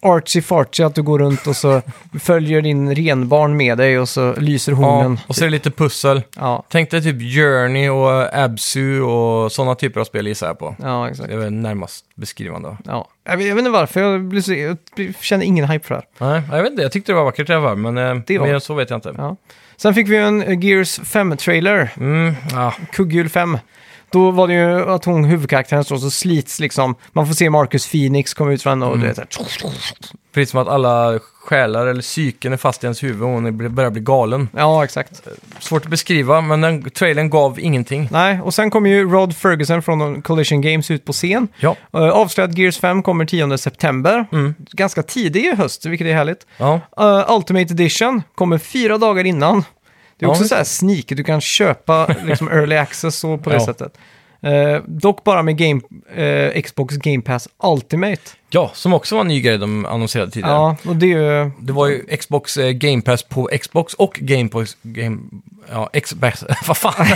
artsy fartsy att du går runt och
*laughs*
så följer din renbarn med dig och så lyser hornen.
Ja, och så är det lite pussel.
Ja,
Tänk dig typ Journey och eh, Absu och sådana typer av spel gissar jag på.
ja exakt.
Det är väl närmast beskrivande.
Ja. Jag, vet, jag vet inte varför, jag, blir så, jag känner ingen hype för det här.
Nej, jag vet inte. Jag tyckte det var vackert i alla fall, men eh,
Det var-
mer än så vet jag inte.
Ja. Sen fick vi en eh, Gears 5-trailer,
Mm, ah,
Kugghjul 5. Då var det ju att hon, huvudkaraktären, står så slits liksom. Man får se Marcus Phoenix komma ut från henne och det är så här,
precis som att alla själar eller psyken är fast i ens huvud och hon blir- börjar bli galen.
Ja, exakt.
Svårt att beskriva, men den trailern gav ingenting.
Nej, och sen kom ju Rod Ferguson från Collision Games ut på scen.
Ja.
Eh, Avslöjad Gears 5 kommer 10 september. Ganska tidig i höst, vilket är härligt.
Ja,
Eh, Ultimate Edition kommer fyra dagar innan. Det är
Ja,
också
visst.
så här sneaky, du kan köpa *laughs* liksom early access och på det
Ja.
sättet. Eh, dock bara med game, eh, Xbox Game Pass Ultimate.
ja som också var en ny grej de annonserade tidigare.
Ja, och det är ju...
Det var ju Xbox eh, Game Pass på Xbox och Game Pass... Game, ja, Xbox... *laughs* Vad fan?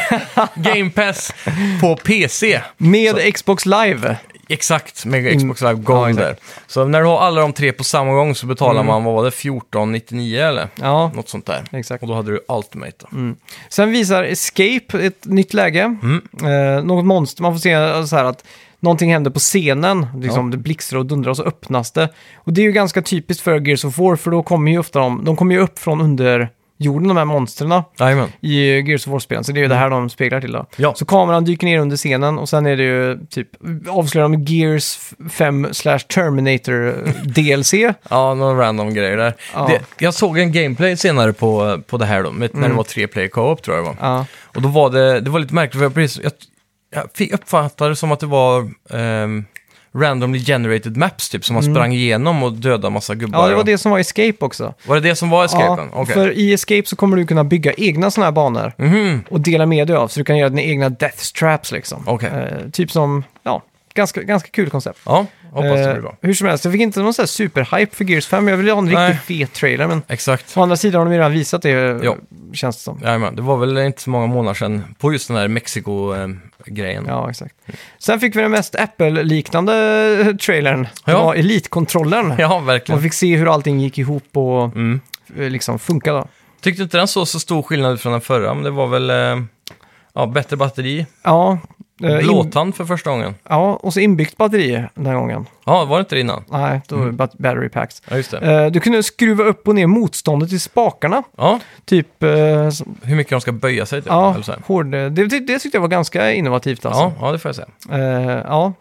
Game Pass på PC.
Med Xbox Live.
Exakt, med Xbox Live Gold
Ja,
där. Så när du har alla de tre på samma gång så betalar man, vad var det, 1499 eller?
Ja,
Något sånt där.
exakt.
Och då hade du Ultimate då.
Sen visar Escape ett nytt läge. Eh, något monster, man får se eh, så här att någonting händer på scenen. Liksom, Det blixtrar och dundrar och så öppnas det. Och det är ju ganska typiskt för Gears of War, för då kommer ju ofta de, de kommer ju upp från underjorden, de här monstren
Jajamän.
i eh, Gears of War-spelen. Så det är ju det här de speglar till då.
Mm. Ja.
Så kameran dyker ner under scenen och sen är det ju typ, avslöjar de Gears 5 slash Terminator
*laughs*
eh, DLC.
Ja, några random grejer där.
Ja.
Det, jag såg en gameplay senare på, på det här då, med, när det var tre player co-op tror jag det var.
Mm. Ja,
Och då var det, det var lite märkligt, för jag, precis, jag, jag fick- uppfattade det som att det var ehm, randomly generated maps typ, som man sprang igenom och dödade massa gubbar.
Mm. ja det var
och-
det som var Escape också.
var det det som var escapen?
Ja,
Okej.
för i Escape så kommer du kunna bygga egna sådana här banor
Mhm.
och dela med dig av. Så du kan göra dina egna death traps liksom.
Okej.
Eh, typ som, ja, ganska, ganska kul koncept.
Ja, hoppas det
Eh,
blir bra.
hur som helst, jag fick inte någon sån här superhype för Gears 5. Jag ville ha en
Nej.
riktigt fet trailer, men
Exakt.
å andra sidan har de ju redan visat det, eh,
Ja.
känns det som.
Jajamän, det var väl inte så många månader sedan på just den här ehm, Mexiko-grejen.
Ja, exakt. Sen fick vi den mest Apple-liknande eh, trailern. Det
Ja.
var Elite-kontrollern.
*laughs* ja,
Man
verkligen. Mm.
fick se hur allting gick ihop och eh, liksom funkade. då.
Tyckte inte den såg så stor skillnad ut från den förra, men det var väl eh, ja, bättre batteri,
Ja, eh, in-
blåtand för första gången.
ja, och så inbyggt batteri den här gången.
Ja, var det inte det innan?
Nej, då mm. battery packs.
Ja, just det.
Eh, du kunde skruva upp och ner motståndet i spakarna.
Ja,
Typ, eh, s-
hur mycket de ska böja sig typ.
ja,
eller så här.
hård, det, det, det tyckte jag var ganska innovativt alltså.
Ja, ja, det får jag säga.
Ja. Eh, ja.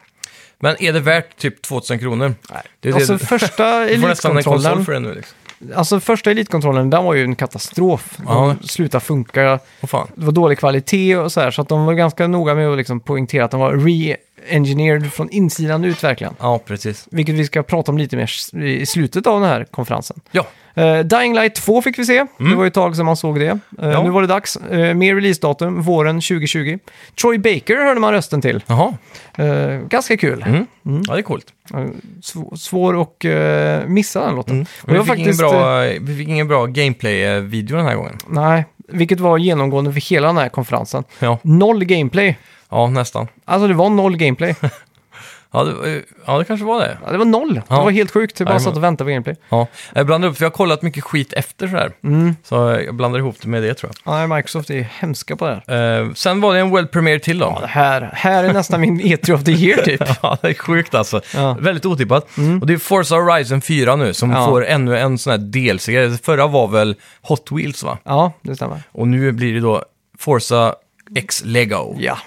Men är det värt typ 2000 kronor? Nej. Det, är
Alltså
det,
första
*laughs* du får nästan en konsol
elitkontrollen,
för det nu liksom.
alltså första elitkontrollen, den var ju en katastrof.
Ja.
Den slutade funka,
Åh fan.
det var dålig kvalitet och så här, så att de var ganska noga med att liksom poängtera att den var re-engineered från insidan ut verkligen.
Ja, precis.
Vilket vi ska prata om lite mer s- i slutet av den här konferensen.
Ja,
Eh, Dying Light 2 fick vi se. Det var ju ett tag sedan man såg det. Eh,
Mm. Ja.
Nu var det dags. Uh, mer releasedatum, våren 2020. Troy Baker hörde man rösten till.
jaha.
Eh, ganska kul.
Mm. Ja, det är coolt.
Eh, sv- svår att eh, missa den låten. Och
Mm. Men vi,
jag
fick ingen
faktiskt, eh,
bra, vi fick ingen bra gameplay-video den här gången.
nej, vilket var genomgående för hela den här konferensen.
Ja,
Noll gameplay.
ja nästan.
Alltså det var noll gameplay.
Ja det, eh, ja, det kanske var det.
Ja, det var noll.
Ja.
Det var helt sjukt. Jag bara
Jajamän.
satt och väntade på gameplay.
Ja, jag blandar upp, för jag har kollat mycket skit efter så här.
Mm.
Så jag blandar ihop det med det tror jag.
Nej, Microsoft är hemska på det här.
Eh, sen var det en world premiere till
Ja,
då.
det här, här är nästan min *laughs* E3 of the year typ.
Ja, det är sjukt alltså.
Ja. Mm.
Väldigt otippat. Och det är Forza Horizon 4 nu som
Ja.
får ännu en sån här DLC-grej. Förra var väl Hot Wheels va?
Ja, det stämmer.
Och nu blir det då Forza X Lego.
Ja.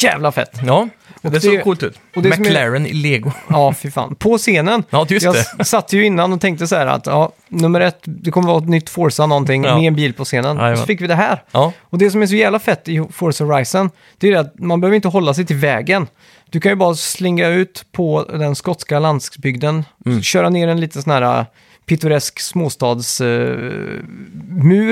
Jävla fett.
Ja, det,
det-
såg coolt ut.
och det som är-
McLaren i Lego.
Ja, fy fan. På scenen.
Ja, just
jag
det.
s- satt ju innan och tänkte så här att ja, nummer ett, det kommer vara ett nytt Forza någonting
Ja.
med en bil på scenen.
Jajamän.
Och så fick vi det här.
Ja,
Och det som är så jävla fett i Forza Horizon, det är ju det att man behöver inte hålla sig till vägen. Du
Mm.
kan ju bara slinga ut på den skotska landsbygden, köra ner en liten sån här äh, pittoresk småstadsmur.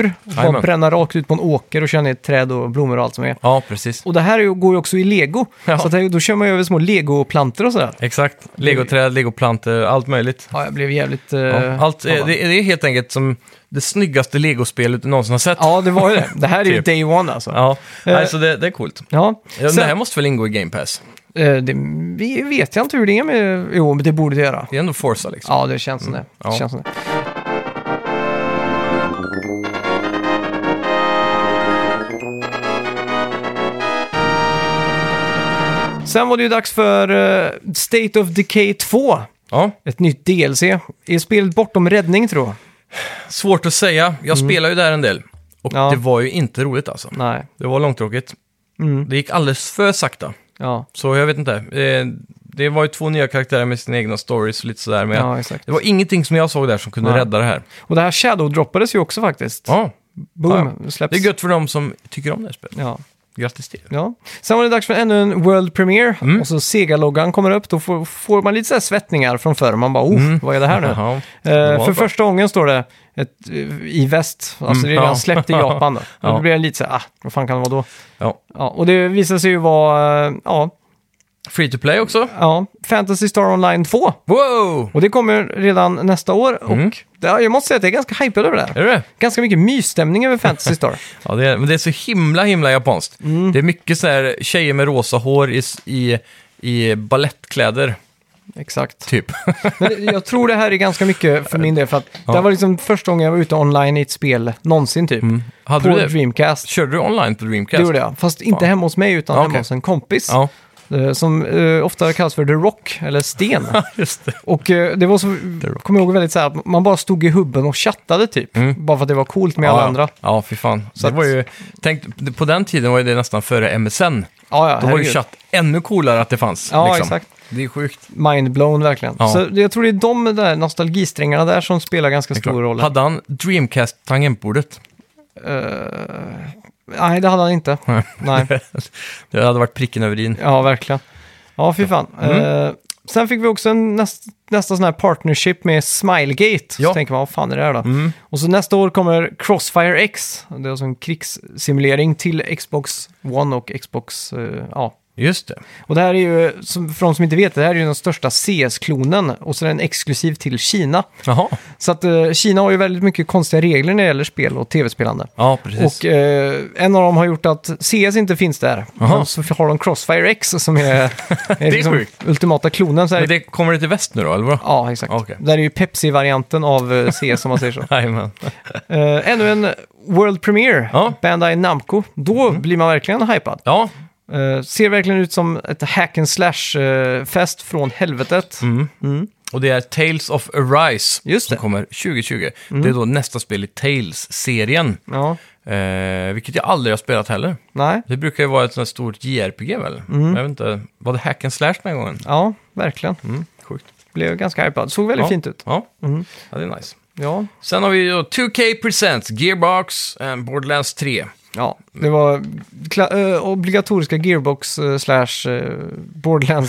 Uh, bara
Jajamän.
bränna rakt ut på en åker och köra ner träd och blommor och allt som är.
Ja, precis.
Och det här är ju- går ju också i lego.
Ja.
Så att det- då kör man ju över små legoplantor och sådär.
Exakt. Legoträd, legoplantor, allt möjligt.
Ja, jag blev jävligt... eh,
Ja, allt, eh,
taggad.
det, det är helt enkelt som det snyggaste legospelet du någonsin har sett.
Ja, det var ju det. Det här är ju
*laughs* Typ.
day one alltså. Ja.
Ja, nej, så det, det är coolt. Ja, men
Sen,
det här måste väl ingå i Game Pass?
eh, det vi vet jag inte hur det är med... Jo, men det borde det göra.
Det är ändå Forza liksom.
Ja, det känns som det.
Ja.
det, känns som det. Sen var det ju dags för eh, State of Decay 2.
Ja.
Ett nytt DLC. Är spelet bortom räddning tror jag?
Svårt att säga. Jag spelar ju där en del. Och
Mm. Ja.
det var ju inte roligt alltså.
Nej.
Det var långtråkigt.
Mm.
Det gick alldeles för sakta.
Ja.
Så jag vet inte. Eh, det var ju två nya karaktärer med sina egna stories och lite sådär. Men jag-
ja, exakt.
det var ingenting som jag såg där som kunde
Nej.
rädda det här.
Och det här shadow-droppades ju också faktiskt.
Ja,
Boom, släpps.
det är gött för dem som tycker om det här spelet.
Ja.
Grattis till er.
Ja. Sen var det dags för ännu en World Premiere
Mm.
och så Sega-loggan kommer upp. Då får, får man lite så här svettningar från förr. Man bara, oh, vad är det här nu?
Mm. Jaha.
Eh,
var
för
bra.
första gången står det ett, eh, i väst, alltså
Mm,
det är redan
ja.
släppt
*laughs*
i Japan. Då,
Ja.
då blir det lite så här, ah, vad fan kan det vara då?
Ja.
Ja, och det visar sig ju vara, eh, ja,
Free to play också.
ja, Fantasy Star Online 2.
Wow!
Och det kommer redan nästa år.
Mm.
Och det, ja, jag måste säga att jag är ganska hypad över det här.
Är det det?
Ganska mycket mysstämning över Fantasy
*laughs*
Star.
Ja, det är, men det är så himla, himla japanskt.
Mm.
Det är mycket så här tjejer med rosa hår i, s- i, i ballettkläder,
Exakt.
typ.
Men jag tror det här är ganska mycket för min del, för att det här var liksom första gången jag var ute online i ett spel någonsin typ.
Mm. Hade
På
du det?
Dreamcast.
Körde du online på Dreamcast?
Det gjorde jag, fast inte
Fan.
hemma hos mig utan
Ja,
hemma
okej.
hos en kompis.
Ja,
eh, Som eh, ofta kallas för The Rock, eller
*laughs*
Sten.
*laughs* just det.
och eh, det var så, kommer jag ihåg väldigt så här, att man bara stod i hubben och chattade typ.
Mm.
Bara för att det var coolt med alla
ja,
andra.
Ja, ja fy fan.
Så
Så det
att-
var ju, tänk, på den tiden var ju det nästan före MSN.
Ja, ja,
Då var ju
herregud.
chatt ännu coolare att det fanns.
Ja,
liksom.
exakt.
Det är sjukt.
Mindblown verkligen.
Ja.
Så jag tror det är de där nostalgisträngarna där som spelar ganska
Det är klart.
stor roll.
Hade han Dreamcast-tangentbordet? *laughs*
Eh, nej, det hade han inte.
Nej.
nej.
Det hade varit pricken över in.
Ja, verkligen. Ja, fy fan. Eh, sen fick vi också en näst, nästa sån här partnership med Smilegate. Så
Ja.
tänker man, vad fan är det här då? Och så nästa år kommer Crossfire X. Det är alltså en krigssimulering till Xbox One och Xbox... eh, ja.
Just det.
Och det här är ju, som, för de som inte vet, det här är ju den största CS-klonen. Och så är den exklusiv till Kina.
Jaha.
Så att eh, Kina har ju väldigt mycket konstiga regler när det gäller spel och tv-spelande.
Ja, precis.
Och eh, en av dem har gjort att CS inte finns där.
Jaha.
Och så har de Crossfire X som
*laughs*
är, är liksom
sjukt.
ultimata klonen. Så här.
Men det kommer det till väst nu då, eller vadå?
eh,
*laughs*
Ja, exakt.
Okej.
Där är ju Pepsi-varianten av eh, CS om man
*laughs*
säger så.
Jajamän.
Eh, ännu en World Premiere,
Ja. Mhm.
Bandai Namco. Då blir man verkligen hypad.
Ja,
Eh, ser verkligen ut som ett hack and slash-fest från helvetet.
Mm. Och det är Tales of Arise
Just
som
det.
kommer 2020. Det är då nästa spel i Tales-serien.
Ja,
Eh, vilket jag aldrig har spelat heller.
nej.
Det brukar ju vara ett sånt här stort JRPG väl? Jag vet inte, var det hack and slash den här gången?
Ja, verkligen.
Sjukt.
Blev ganska hypad. Såg väldigt
Mm. Ja.
fint ut.
Ja. Mm. ja, det är nice.
Ja.
Sen har vi ju då 2K Presents, Gearbox and Borderlands 3.
Ja, det var kla- eh, obligatoriska Gearbox eh, slash eh,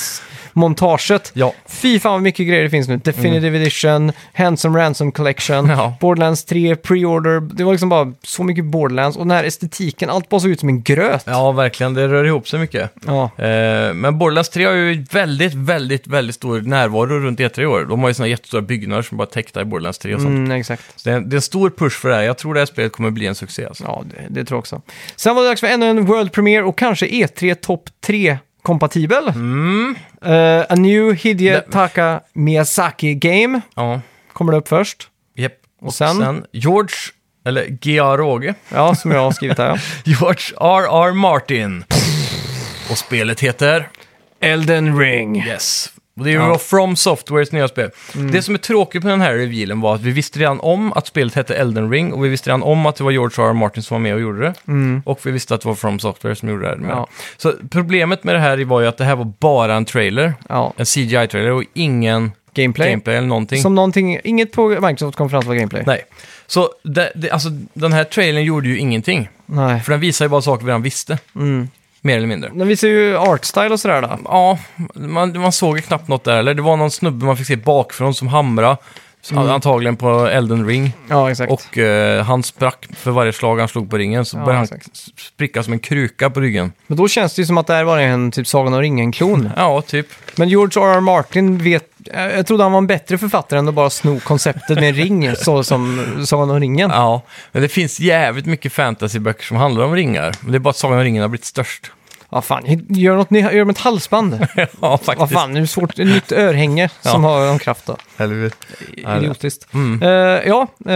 Borderlands-montaget.
Ja. Mm.
Fy fan vad mycket grejer det finns nu. Definitive Edition, Handsome Ransom Collection,
Ja.
Borderlands 3, Pre-Order. Det var liksom bara så mycket Borderlands. Och den här estetiken, allt bara såg ut som en gröt.
Ja, verkligen. Det rör ihop sig mycket.
Ja,
Eh, men Borderlands 3 har ju väldigt, väldigt, väldigt stor närvaro runt E3 i år. De har ju såna jättestora byggnader som bara täckta i Borderlands 3 och sånt.
mm, exakt.
Så det, är en, det är en stor push för det här. Jag tror det här spelet kommer bli en succé. Alltså.
Ja, det, det tror jag också. Sen var det dags för ännu en World Premiere och kanske E3 Top 3 kompatibel.
Mm.
Eh, a new Hidetaka Miyazaki Game
Ja,
kommer det upp först.
yep.
Och sen?
George, eller G.A. Råge,
Ja, som jag har skrivit
*laughs*
här. Ja.
George R.R. Martin. Och spelet heter?
Elden Ring.
Yes. Och det är ju då From Softwares nya spel.
Mm.
Det som är tråkigt med den här revealen var att vi visste redan om att spelet hette Elden Ring och vi visste redan om att det var George R.R. Martin som var med och gjorde det. Och vi visste att det var From Software som gjorde det. Här med.
Mm. Ja.
Så problemet med det här var ju att det här var bara en trailer,
Ja,
en CGI-trailer och ingen
gameplay.
gameplay eller någonting.
Som någonting, inget på Microsoft konferens var gameplay.
Nej. Så det, det, alltså, den här trailern gjorde ju ingenting.
Nej.
För den visar ju bara saker vi redan visste.
Mm.
Mer eller mindre.
Den visar ju artstyle och sådär då.
Ja, man, man såg ju knappt något där. Eller det var någon snubbe man fick se bakifrån som hamra. Antagligen på Elden Ring.
Ja, Mm. exakt.
Och eh, han sprack för varje slag han slog på ringen, så
Ja,
började han
exakt.
s- spricka som en kruka på ryggen.
Men då känns det ju som att det här var en typ Sagan om
*laughs*
ringen-klon.
Ja, typ.
Men George R.R. Martin vet... eh, Jag trodde han var en bättre författare än att bara sno konceptet med en
*laughs*
ring, så som Sagan om ringen.
Ja, men det finns jävligt mycket fantasyböcker som handlar om ringar. Men det är bara att Sagan om ringen har blivit störst. *laughs*
Ja, fan. Gör något nytt. Gör dem ett halsband.
ja,
Vad
faktiskt.
fan, det är svårt. Ett nytt örhänge som
Ja.
har någon kraft då.
Helvete. Ja, det-
Idiotiskt.
Mm.
Eh, ja, uh,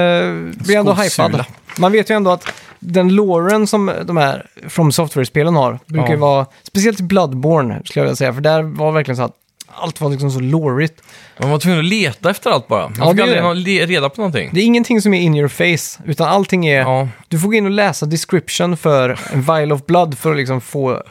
blir ändå
Skosula.
hypad. Man vet ju ändå att den loren som de här From Software-spelen har brukar ju
Ja.
vara, speciellt Bloodborne skulle jag vilja säga, för där var verkligen så att allt var liksom så lorigt.
Man var tvungen att leta efter allt bara. Man
Ja,
fick
det är
aldrig
det.
någon le- reda på någonting.
Det är ingenting som är in your face, utan allting är...
Ja,
Du får gå in och läsa description för en Vial of Blood för att liksom få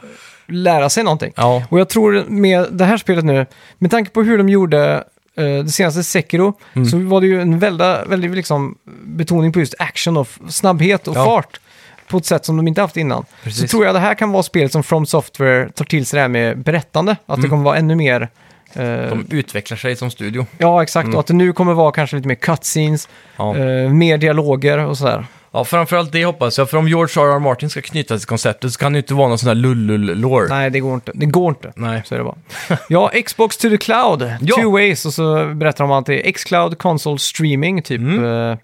lära sig någonting.
ja.
Och jag tror med det här spelet nu, med tanke på hur de gjorde eh, det senaste Sekiro,
Mm.
så var det ju en välda, väldigt liksom, betoning på just action och f- snabbhet och
Ja.
fart på ett sätt som de inte haft innan. Så
Precis.
tror jag det här kan vara spelet som From Software tar till sig det här med berättande, att det kommer vara ännu mer... eh,
Mm. De utvecklar sig som studio.
Ja, exakt. Och att det nu kommer vara kanske lite mer cutscenes,
Ja.
eh, mer dialoger och sådär.
Ja, framförallt det hoppas jag. För om George R.R. Martin ska knyta till konceptet så kan det ju inte vara någon sån där lullull-lore.
Nej, det går inte. Det går inte.
Nej.
Så är det bara. *laughs* Ja, Xbox to the cloud,
Ja.
two ways. Och så berättar de att det är Xcloud, console, streaming, typ. eh,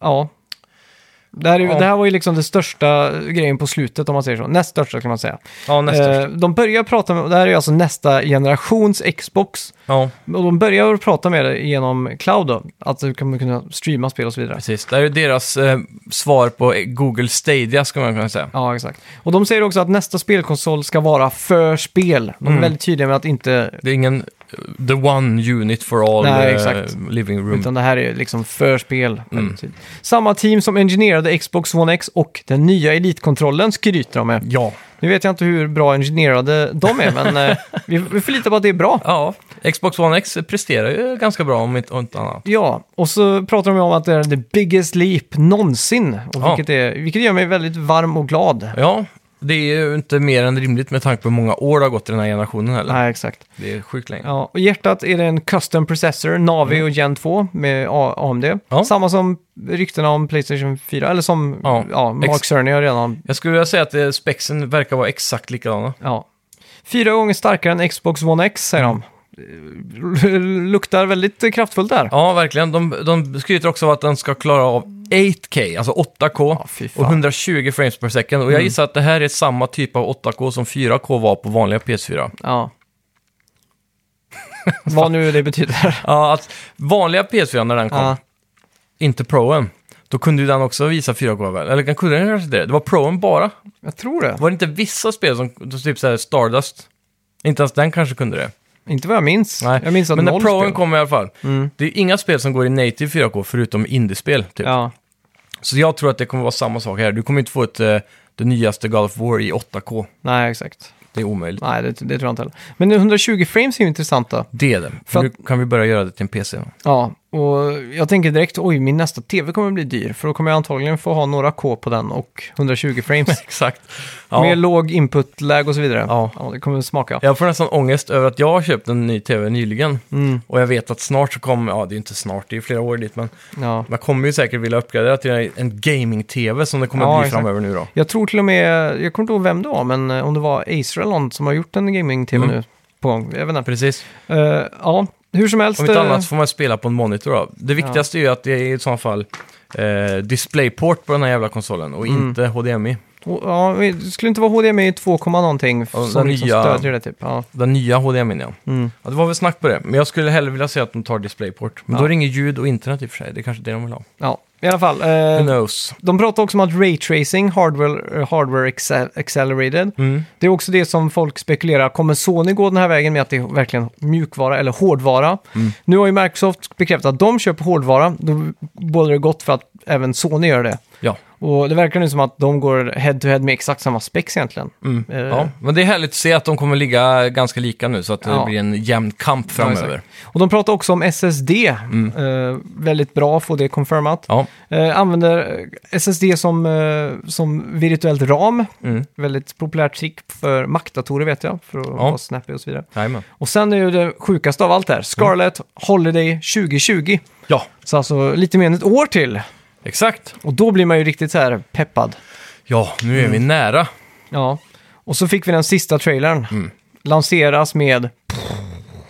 ja. Det här, är, ju-
Mm. Ja.
det här var ju liksom det största grejen på slutet, om man säger så. Näst största kan man säga.
Ja, nästa.
Eh, de börjar prata med, det här är ju alltså nästa generations Xbox.
Ja,
Och de börjar prata med det genom cloud då. Att du kommer kunna streama spel och så vidare.
precis. Det här är deras eh, svar på Google Stadia, ska man kunna säga.
Ja, exakt. Och de säger också att nästa spelkonsol ska vara för spel. De är
Mm.
väldigt tydliga med att inte
Det är ingen eh, the one unit for all
Nej,
eh,
exakt.
living room.
Utan det här är liksom förspel.
Mm.
typ. Samma team som ingenjörade Xbox One X och den nya Elite-kontrollen skryter de med.
Ja.
Nu vet jag inte hur bra ingenjörade de är, men
*laughs*
eh, vi, vi förlitar på att det är bra.
Ja, Xbox One X presterar ju ganska bra om inte, om inte annat.
Ja, och så pratar de ju om att det är the biggest leap någonsin. Och
Ja.
vilket, är, vilket gör mig väldigt varm och glad.
Ja, det är ju inte mer än rimligt med tanke på hur många år det har gått i den här generationen heller.
Nej, exakt.
Det är sjukt länge.
Ja, och i hjärtat är det en custom processor, Navi och Gen 2 med A- AMD.
Mm. Ja.
Samma som ryktena om Playstation 4, eller som ja.
Ja.
Mark
Ex-
Cerny har redan
Jag skulle vilja säga att eh, spexen verkar vara exakt likadana.
Ja. Fyra gånger starkare än Xbox One X, säger de. *laughs* Eh, Luktar väldigt kraftfullt där.
Ja, verkligen. De, de skryter också om att den ska klara av 8K, alltså 8K,
fy fan. Mm.
och 120 frames per second. Och jag gissar att det här är samma typ av 8K som 4K var på vanliga PS4.
Ja. *laughs* Vad nu det betyder.
Ja, att vanliga PS4 när den kom,
Ja.
inte Proen, då kunde ju den också visa 4K väl? Eller kunde den kanske inte det? Det var Proen bara.
Jag tror det.
Var det inte vissa spel som, typ så här Stardust, inte ens den kanske kunde det?
Inte vad jag minns.
Nej.
Jag minns att
Men när
noll
Proen
spel. Mm.
kom i alla fall, det är inga spel som går i native 4K förutom indiespel. Typ.
Ja.
Så jag tror att det kommer vara samma sak här. Du kommer inte få ett, eh, det nyaste God of War i 8K.
Nej, exakt.
Det är omöjligt.
Nej, det, det tror jag inte heller. Men 120 frames är ju intressant då.
Det är det.
För
För nu kan vi börja göra det till en PC.
*laughs* Ja, och jag tänker direkt, oj, min nästa tv kommer bli dyr. För då kommer jag antagligen få ha några K på den och 120 frames.
Exakt. *laughs* Ja.
Med låg input-lag och så vidare.
Ja.
det kommer smaka.
Jag får nästan ångest över att jag har köpt en ny TV nyligen.
Mm.
Och jag vet att snart så kommer, ja det är inte snart, det är flera år dit, men
Ja.
man kommer ju säkert vilja uppgradera till en gaming-TV som det kommer
Ja,
bli
exakt.
framöver nu då.
Jag tror till och med, jag kommer inte ihåg vem det var, men eh, om det var Acer eller någon som har gjort en gaming-tv
Mm.
nu på gång. Jag vet inte.
Precis.
Eh, ja, hur som helst.
Om inte
eh,
annat så får man spela på en monitor då. Det viktigaste är ju att det är i så fall eh, DisplayPort på den här jävla konsolen och
Mm.
inte HDMI.
och- ja, det skulle inte vara HDMI 2, någonting f-
Ja,
som
de
liksom
nya-
stödjer det typ. Ja.
Den nya HDMI ja.
Mm.
ja. Det var väl snack på det, men jag skulle hellre vilja se att de tar DisplayPort. Men
Ja.
då är det inget ljud och internet i och för sig, det är kanske det de vill ha.
ja, i alla fall. eh,
Who knows?
de pratar också om att Ray Tracing, Hardware, eh, hardware acce- Accelerated,
Mm.
det är också det som folk spekulerar. Kommer Sony gå den här vägen med att det är verkligen mjukvara eller hårdvara?
Mm.
Nu har ju Microsoft bekräftat att de köper hårdvara. Då borde det gott för att även Sony gör det.
Ja.
Och det verkar nu som att de går head-to-head med exakt samma specs egentligen.
Mm.
Eh,
ja. Men det är härligt att se att de kommer ligga ganska lika nu, så att det
Ja.
blir en jämn kamp framöver.
exakt. Och de pratar också om SSD.
Mm.
Eh, väldigt bra att få det confirmat.
Ja,
Eh, använder eh, SSD som, eh, som virtuellt ram.
mm.
Väldigt populärt trick för Mac-datorer vet jag, för att vara snappy och så vidare.
Jajamän.
Och sen är ju det sjukaste av allt
Mm.
här, Scarlett Holiday 2020.
ja,
Så alltså lite mer än ett år till.
exakt.
Och då blir man ju riktigt så här peppad.
Ja, nu är vi
Mm.
nära.
Ja. Och så fick vi den sista trailern.
Mm.
Lanseras med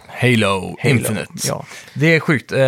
Halo,
Halo.
Infinite.
Ja.
Det är sjukt eh,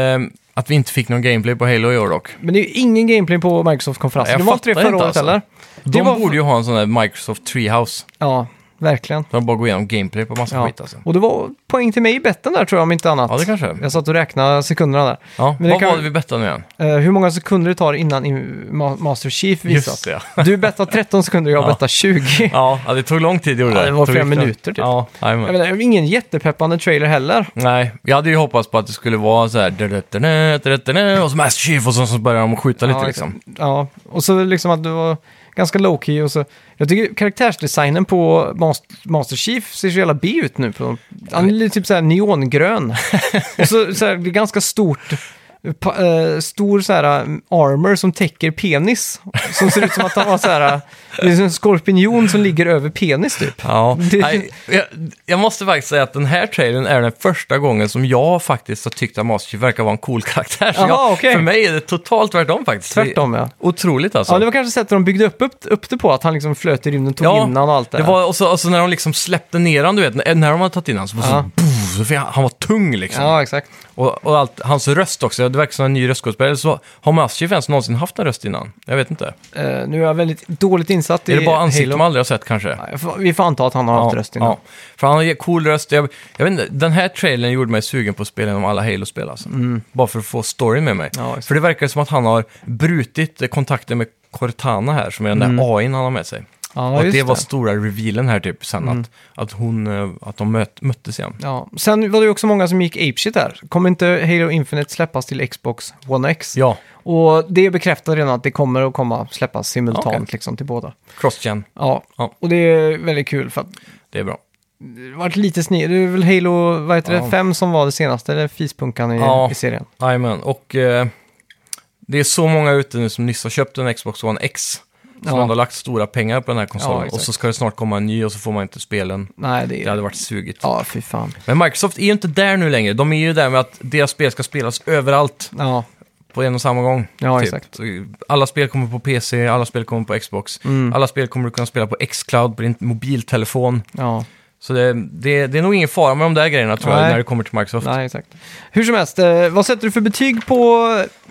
att vi inte fick någon gameplay på Halo i år dock.
Men det är ju ingen gameplay på Microsoft-konferensen.
Jag
Det var inte det
fattar
förra
inte
året
alltså.
heller.
De
var-
borde ju ha en sån där Microsoft Treehouse.
Ja, verkligen.
Där de bara går igenom gameplay på massa
Ja.
skit alltså.
Och det var poäng till mig i betten där tror jag, om inte annat.
Ja, det kanske är.
Jag satt och räknade sekunderna där.
Ja.
Men det
Vad
kan-
var det vi bettade nu igen?
Eh, hur många sekunder det tar innan i- Ma- Master Chief visas.
Just det, ja.
Du bettar 13 sekunder, jag
*laughs* Ja.
bettar 20.
Ja, ja, det tog lång tid gjorde
Ja, det var
Tog
flera
riktigt-
minuter, typ.
Ja,
Jag
jajamän.
menar, det var ingen jättepeppande trailer heller.
Nej, jag hade ju hoppats på att det skulle vara så här... "Da-da-da-da, da-da-da-da", Och så Master Chief och så, så börjar de skjuta lite
ja,
liksom.
Ja, och så liksom att det var ganska low key och så. Jag tycker karaktärsdesignen på Mas- Master Chief ser så jävla B ut nu. På, han är lite typ såhär neongrön. och så, så här, det är ganska stort. Pa, eh, stor så här eh, armor som täcker penis. Som ser ut som att han var så här. eh, Det är som en skorpion som ligger över penis typ.
Ja,
Det-
nej, jag, jag måste faktiskt säga att den här trailern är den första gången som jag faktiskt har tyckt att Master Chief verkar vara en cool karaktär. Så
Jaha,
jag,
okej.
För mig är det totalt tvärtom faktiskt.
Tvärtom ja.
Otroligt alltså.
Ja, det var kanske sättet de byggde upp, upp, upp det på, att han liksom flöt i rymden, tog
Ja,
in han och allt det
Det
där.
var, och, så, och så när de liksom släppte ner han, du vet, när när de hade tagit in han så, var det
Ja.
så, boom, så fick han, han var tung liksom.
Ja, exakt.
Och, och allt, hans röst också, det verkar som en ny röstskådespelare. Så har Mastiff ens någonsin haft en röst innan? Jag vet inte.
Eh, nu är jag väldigt dåligt insatt i
är det bara ansikten
Halo.
man aldrig har sett kanske?
Ja, jag får- Vi får anta att han har haft rösten.
ja. För han har en cool röst. Jag, jag vet inte, den här trailern gjorde mig sugen på att spela igenom alla Halo-spel alltså. Bara för att få storyn med mig.
Mm. Ja, exakt.
för det verkar som att han har brutit eh, kontakten med Cortana här, som är den där AIn han har med sig.
Mm. Ja,
och att
just
det var
det. Mm.
stora revealen här typ sen, att, att, hon, eh, att de möt, möttes igen.
Ja. Sen var det ju också många som gick apeshit där. Kommer inte Halo Infinite släppas till Xbox One X?
Ja,
Och det bekräftar redan att det kommer att komma släppas simultant
Okej.
liksom till båda.
cross-gen,
Ja.
Ja.
och det är väldigt kul för att
det är bra.
det har varit lite sni. Det är väl Halo, vad heter det,
Ja.
5 som var det senaste, eller fispunkan i,
Ja.
i serien.
Jajamän, och eh, det är så många ute nu som nyss har köpt en Xbox One X. Som
Ja.
ändå har lagt stora pengar på den här
Ja,
konsolen.
exakt.
och så ska det snart komma en ny och så får man inte spelen.
Nej, det
Det
är...
hade varit sugigt.
Ja, fy fan.
Men Microsoft är ju inte där nu längre. De är ju där med att deras spel ska spelas överallt
Ja,
på en och samma gång. typ.
ja exakt.
Alla spel kommer på PC, alla spel kommer på Xbox.
Mm.
Alla spel kommer du kunna spela på Xcloud, på din mobiltelefon.
Ja.
Så det, det, det är nog ingen fara med de där grejerna tror
Nej.
jag, när det kommer till Microsoft.
Nej, exakt. Hur som helst, eh, vad sätter du för betyg på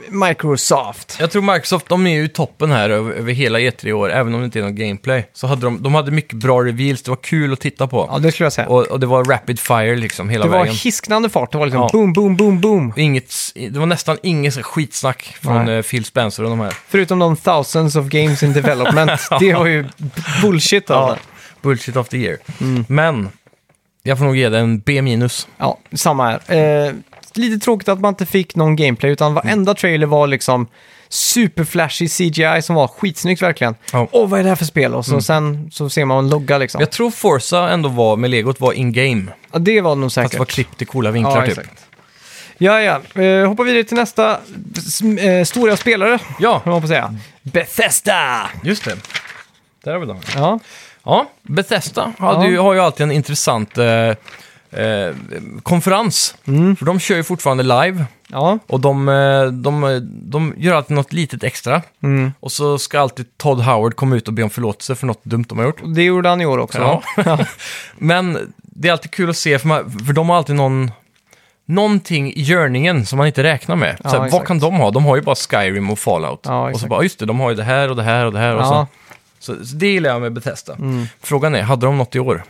Microsoft?
Jag tror Microsoft, de är ju i toppen här över, över hela E3 i år, även om det inte är någon gameplay. Så hade de, de hade mycket bra reveals, det var kul att titta på.
Ja, det skulle jag säga.
Och, och det var rapid fire liksom hela
det var
vägen.
hisknande fart, det var liksom
Ja.
boom, boom, boom, boom.
Inget, det var nästan inget så här skitsnack från
Nej.
eh, Phil Spencer och de här.
Förutom de thousands of games in development.
*laughs*
det var ju bullshit
Ja.
alltså.
Bullshit of the year.
Mm.
Men jag får nog ge den en B minus.
Ja, samma här. Eh, lite tråkigt att man inte fick någon gameplay,
Mm.
utan varenda trailer var liksom superflashig CGI som var skitsnyggt verkligen. Åh,
Ja. Mm.
vad är det här för spel? Och så sen så ser man en logga liksom.
Jag tror Forza ändå var, med legot, var in-game.
Ja, det var det nog
Fast
säkert.
det var klippt i coola vinklar
ja,
typ.
exakt. Ja, ja. Eh, hoppar vidare till nästa sm- eh, stora spelare, kan
Ja,
man får säga. Bethesda!
just det. Där har vi dem.
Ja,
Ja, Bethesda hade
Ja.
Ju, har ju alltid en intressant eh, eh, konferens.
Mm.
För de kör ju fortfarande live
ja.
och de, eh, de, de gör alltid något litet extra.
Mm.
Och så ska alltid Todd Howard komma ut och be om förlåtelse för något dumt de har gjort.
Och Det gjorde han i år också.
Ja. *laughs* Men det är alltid kul att se, för, man, för de har alltid någon, någonting i görningen som man inte räknar med.
Ja,
så här,
exakt.
vad kan de ha? De har ju bara Skyrim och Fallout.
Ja,
och så
exakt.
bara, "Ah, just det, de har ju det här och det här och det här. Och
Ja.
så. Så, så det gillar jag med Bethesda.
Mm.
Frågan är, hade de något i år?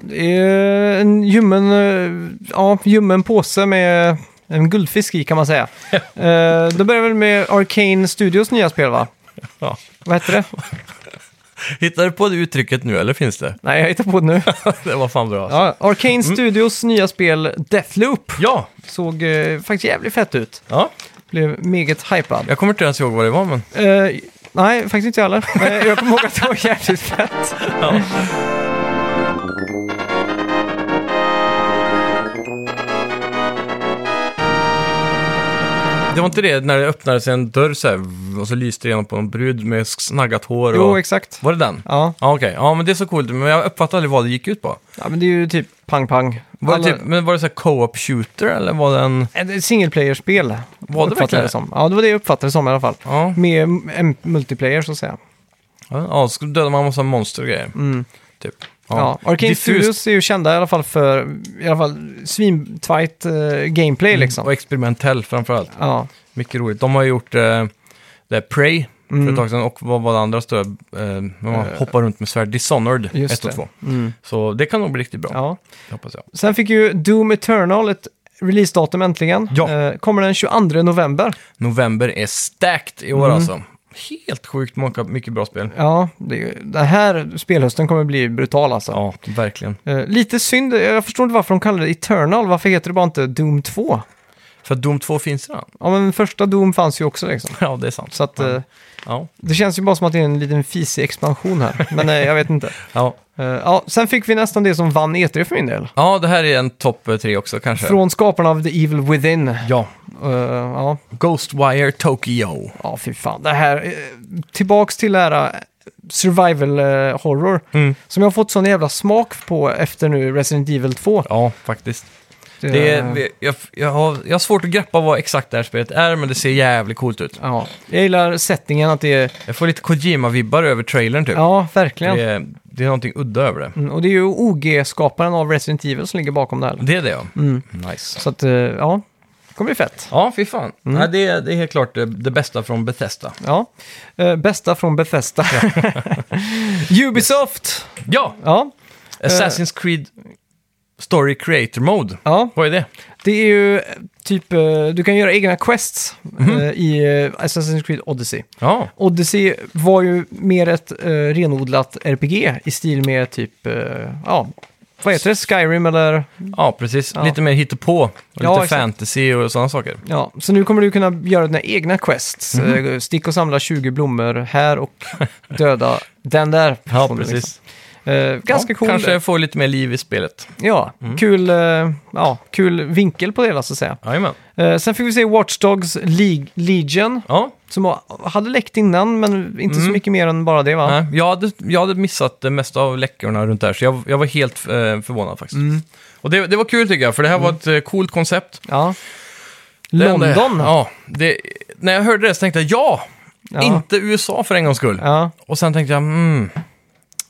Det är En ljummen, eh, ja, ljummen påse med en guldfisk i kan man
*laughs*
säga. Eh, Då börjar vi med Arcane Studios nya spel va?
Ja.
Vad heter
*laughs*
det?
Hittar du på det uttrycket nu eller finns det?
Nej, jag hittar på *laughs*
*laughs*
det nu.
det var fan bra. alltså.
Ja, Arcane Studios nya spel Deathloop
Ja.
såg eh, faktiskt jävligt fett ut.
ja,
Blev meget hypad.
jag kommer inte ens ihåg vad det var men...
Eh, Nej, faktiskt inte jag
*laughs*
heller. Eh, jag kommer ihåg att det var jävligt fett.
Det var inte det när det öppnades en dörr så här, och så lyste det igenom på en brud med snaggat hår och...
Jo, exakt.
var det den?
Ja.
Ja, okej. Ja, men det är så coolt. Men jag uppfattade aldrig vad det gick ut på.
ja, men det är ju typ pang-pang.
Var det typ, men var det så här co-op shooter eller var det en...
Ett Eh, single player-spel.
Var det
uppfattade
verkligen
jag
det?
det som. Ja, det var det jag uppfattade det som i alla fall.
Ja,
Med en multiplayer så att säga.
ja så dödade man en massa monster och grejer.
Mm.
Typ.
Ja. Arcane
Diffust
Studios är ju kända i alla fall för i alla fall svintvajt eh, gameplay liksom.
Och experimentell framförallt.
Ja.
Mycket roligt. De har ju gjort eh, det här Prey för ett
Mm.
tag sedan och vad var det andra stöd? Eh, när man
Eh,
hoppar runt med svärd. Dishonored
just
1 och
det.
2.
Mm.
Så det kan nog bli riktigt bra,
Ja.
det hoppas jag.
Sen fick ju Doom Eternal ett releasedatum äntligen.
Ja.
Eh, kommer den 22 november.
November är stacked i år
Mm.
alltså. Helt sjukt många, mycket bra spel.
Ja, det, är ju- den här spelhösten kommer bli brutal alltså.
Ja, verkligen.
Eh, lite synd, jag förstår inte varför de kallar det Eternal. Varför heter det bara inte Doom 2?
För att Doom 2 finns redan. *laughs*
Ja, men första Doom fanns ju också liksom.
Ja, det är sant.
Så att, eh,
Ja.
det känns ju bara som att det är en liten fisig expansion här. Men eh, jag vet inte.
Ja.
Eh, ja, sen fick vi nästan det som vann E3 för min del.
ja, det här är en topp eh, tre också kanske.
Från skaparna av The Evil Within.
Ja,
Eh, ja,
Ghostwire Tokyo.
ja, fy fan. Det här, eh, tillbaks till det här eh, survival eh, horror.
Mm.
Som jag har fått sån jävla smak på efter nu Resident Evil Eh, 2.
Ja, faktiskt. Det är, vi- jag, jag, har, jag har svårt att greppa vad exakt det här spelet är, men det ser jävligt coolt ut.
Ja, jag gillar settingen att det är...
Jag får lite Kojima-vibbar över trailern typ.
Ja, verkligen.
det, är, det är någonting udda över det.
Mm, och det är ju OG-skaparen av Resident Evil som ligger bakom det här.
Det är det ja.
Mm.
Nice.
Så att, eh, ja, det kommer bli fett.
Ja, fy fan.
Mm.
Nej, det, är, det är helt klart det, det bästa från Bethesda.
Ja. Eh, bästa från Bethesda. *laughs* Ubisoft!
Ja!
Ja. Eh.
Assassin's Creed Story Creator Mode.
ja,
Vad är det?
det är ju eh, typ, eh, du kan göra egna quests
Mhm.
eh, i eh, Assassin's Creed Odyssey.
Ja.
Odyssey var ju mer ett eh, renodlat RPG i stil med typ, eh, ja, vad heter det, Skyrim eller?
Ja, precis.
Ja.
Lite mer hittepå. Och lite
Ja, exakt.
fantasy och sådana saker.
Ja, så nu kommer du kunna göra dina egna quests.
Mhm.
Eh, Stick och samla 20 blommor här
*laughs*
och döda den där.
Ja,
personen, liksom.
precis.
Eh, ganska
ja,
cool.
Kanske Mm. får lite mer liv i spelet.
Ja, kul, eh, ja, kul vinkel på det hela så att säga.
Jajamän.
Eh, sen fick vi se Watch Dogs League, Legion,
Ja,
som var- hade läckt innan, men inte så mycket mer än bara det va?
Mm. Nej, jag, hade, jag hade missat det mesta av läckorna runt där, så jag, jag var helt eh, förvånad faktiskt.
Mm.
Och det, det var kul tycker jag, för det här var ett eh, coolt koncept.
Ja.
Det enda-
London.
ja, det, när jag hörde det så tänkte jag ja,
Ja.
inte USA för en gångs skull.
Ja.
Och sen tänkte jag, mm,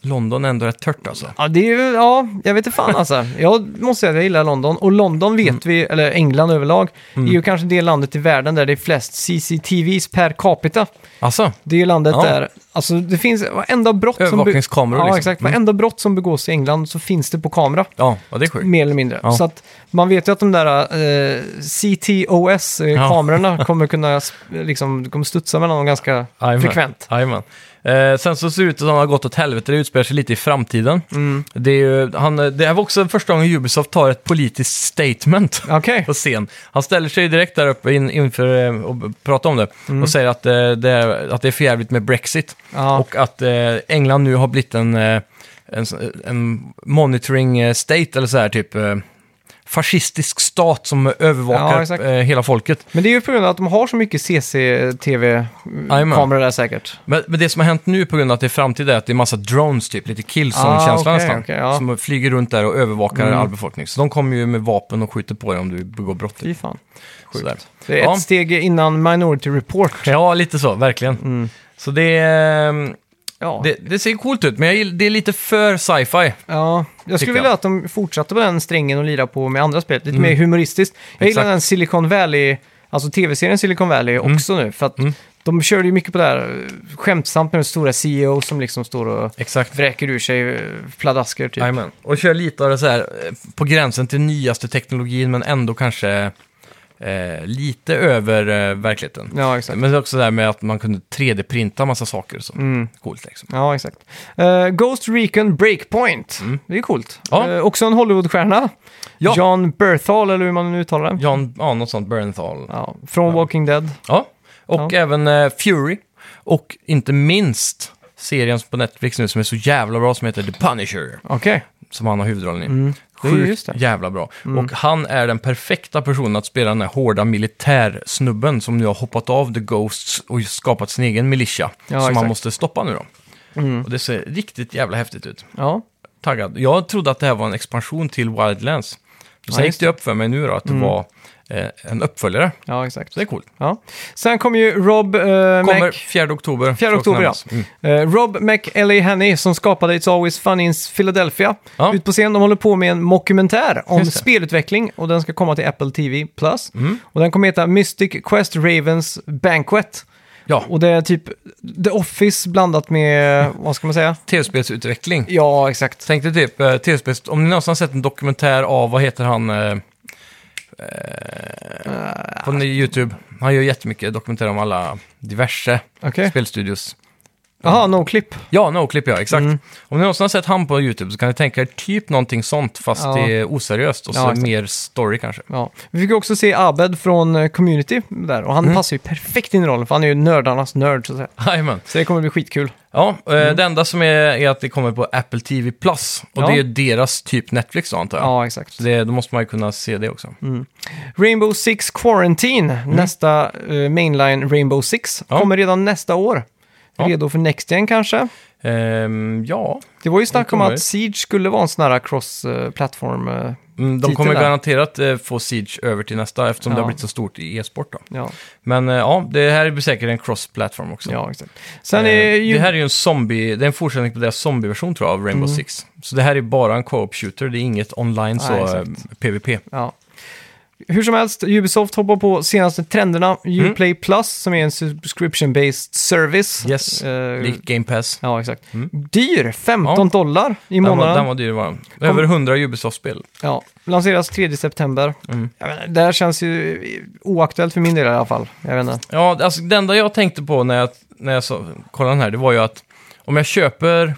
London är ändå rätt tört alltså.
Ja, det är ju, ja, jag vet inte fan alltså. Jag måste säga att jag gillar London. Och London vet
Mm.
vi, eller England överlag, är ju kanske det landet i världen där det är flest CCTVs per capita.
Alltså,
Det är ju landet
Ja.
där, alltså det finns varenda brott som... be-
övervakningskameror
Ja,
liksom.
exakt.
Mm.
Varenda brott som begås i England så finns det på kamera.
Ja, ja, det är sjukt.
Mer eller mindre.
Ja.
Så att man vet ju att de där eh,
*laughs*
CTOS-kamerorna eh, kommer kunna sp- liksom, du kommer studsa mellan dem ganska
Jajamän.
frekvent.
Jajamän. Eh, sen så ser det ut att han har gått åt helvete, det utspelar sig lite i framtiden. Det, är ju, han, det här var också första gången Ubisoft tar ett politiskt statement. *laughs*
Okej.
på scen. Han ställer sig direkt där uppe in, inför eh, och b- pratar om det och säger att, eh, det är, att det är för jävligt med Brexit
Ja.
och att eh, England nu har blivit en, eh, en, s- en monitoring eh, state eller så här typ eh, fascistisk stat som
Ja,
övervakar
exakt.
eh, hela folket.
Men det är ju på grund av att de har så mycket CCTV-kameror eh, där säkert.
Men, men det som har hänt nu på grund av att det är framtid är att det är massa drones, typ lite
Ah, okej,
Killzone-känsla nästan,
okej, ja.
som flyger runt där och övervakar
Mm.
all befolkning. Så de kommer ju med vapen och skjuter på dig om du begår brott. typ,
Fy fan.
Sådär.
Det är
Ja.
ett steg innan Minority Report.
Ja, lite så, verkligen.
Mm.
Så det, eh,
Ja,
det, det ser coolt ut, men jag, gill- det är lite för sci-fi.
ja. jag
tycker
skulle vilja
jag. Mm.
att de fortsatte på den strängen och lira på med andra spel. Lite mer humoristiskt. Jag gillar
Exakt. Mm.
den Silicon Valley, alltså tv-serien Silicon Valley också nu. För att de körde ju mycket på det här eh, skämtsamt med den stora CEO som liksom står och
Exakt.
vräker ur sig eh, pladasker typ.
Jajamän. Och kör lite av det så här eh, på gränsen till nyaste teknologin, men ändå kanske eh, lite över eh, verkligheten.
Ja, exakt.
Men det är också det här med att man kunde 3D-printa massa saker. Så.
Mm.
Coolt liksom.
Ja, exakt. Eh, Ghost Recon Breakpoint. Det är coolt.
Mm. Ja.
Eh, också en Hollywoodstjärna.
Ja.
John Berthal, eller hur man nu uttalar det.
John, ja, något sånt, Bernthal.
Ja, från Walking Dead.
Ja. Och även eh, Fury. Och inte minst serien på Netflix nu som är så jävla bra som heter The Punisher.
Okej.
Som han har huvudrollen i.
Mm. det är
Sjukt
just det. Mm.
jävla bra. Och han är den perfekta personen att spela den här hårda militärsnubben som nu har hoppat av The Ghosts och skapat sin egen militia. som
exakt. Mm.
han måste stoppa nu då. Och det ser riktigt jävla häftigt ut.
Ja.
Taggad. Jag trodde att det här var en expansion till Wildlands. Men
Ja,
sen
just Mm.
gick det upp för mig nu då att det var eh, en uppföljare.
ja, exakt.
Så det är coolt.
Ja. Sen kommer ju Rob eh,
Kommer
Mac...
4 oktober.
4
ska också
oktober, ja.
nämnas. Mm.
Eh, Rob McElhaney som skapade It's Always Fun in Philadelphia.
Ja.
Ut på scen, de håller på med en mockumentär om
Just det. Mm.
spelutveckling och den ska komma till Apple TV+. Plus. Och den kommer heta Mystic Quest Ravens Banquet.
ja.
Och det är typ The Office blandat med, vad ska man säga?
Tv-spelsutveckling.
Ja, exakt.
Tänkte typ eh, tv-spels... Om ni någonsin har sett en dokumentär av, vad heter han? Eh, eh, på YouTube. Han gör jättemycket dokumentärer om alla diverse
Okej.
spelstudios.
Jaha, no clip.
Ja, Noclip ja, exakt.
Mm.
Om ni någonsin har sett han på YouTube så kan ni tänka er typ någonting sånt fast
Ja.
det är oseriöst och så
Ja, exakt.
mer
*laughs*
story kanske.
Ja. Vi fick också se Abed från eh, Community där och han
Mm.
passar ju perfekt in i rollen för han är ju nördarnas nörd så att säga.
Jajamän.
Så det kommer bli skitkul.
Ja, eh, det enda som är, är att det kommer på Apple TV Plus och
Mm. Ja.
det är deras typ Netflix då antar jag.
Ja, Mm. exakt.
Så det, då måste man ju kunna se det också.
Rainbow Six Quarantine, nästa eh, mainline Rainbow Six,
Mm. Ja.
kommer redan nästa år.
Ja.
Redo för Next Gen kanske?
Ehm, ja,
Det var ju snack om
kommer.
att Siege skulle vara en sån här cross-plattform. eh,
Mm, de
titeln
kommer
där.
garanterat eh, få Siege över till nästa eftersom det
Ja.
har blivit så stort i e-sport. Då.
Ja,
Men eh, ja, det här är säkert en cross-platform också.
ja, exakt. Sen
Eh,
är ju...
Det här är ju en zombie, det är en fortsättning på deras zombie-version tror jag av Rainbow
Mm.
Six. Så det här är bara en co-op shooter, det är inget online så,
Nej,
eh, PVP.
Ja. Hur som helst, Ubisoft hoppar på senaste trenderna.
Mm.
Uplay Plus, som är en subscription-based service.
Yes,
Eh,
lik Game Pass.
ja, exakt. Dyr, 15
Ja.
dollar i
Den var,
månaden.
den var dyr var den. Över 100 Ubisoft-spel.
Ja, lanseras 3 september.
Mm.
Jag vet inte, det här känns ju oaktuellt för min del i alla fall. Jag vet inte.
Ja, alltså det enda jag tänkte på när jag, när jag så, kollade den här, det var ju att om jag köper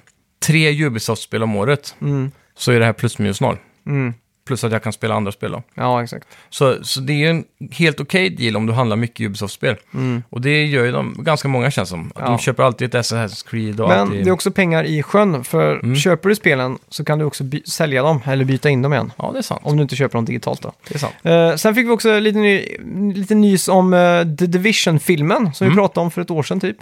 tre Ubisoft-spel om året
Mm.
så är det här plus minus noll.
Mm.
Plus att jag kan spela andra spel då.
Ja, exakt.
Så, så det är ju en helt okej deal om du handlar mycket Ubisoft-spel.
Mm.
Och det gör ju de, ganska många känns som. Att
Ja.
De köper alltid ett Assassin's Creed och
Men
alltid...
det är också pengar i sjön, för
Mm.
köper du spelen så kan du också by- sälja dem eller byta in dem igen.
Ja, det är sant.
Om du inte köper dem digitalt då.
Det är sant.
Eh, sen fick vi också lite, ny, lite nys om eh, The Division-filmen som vi
Mm.
pratade om för ett år sedan typ.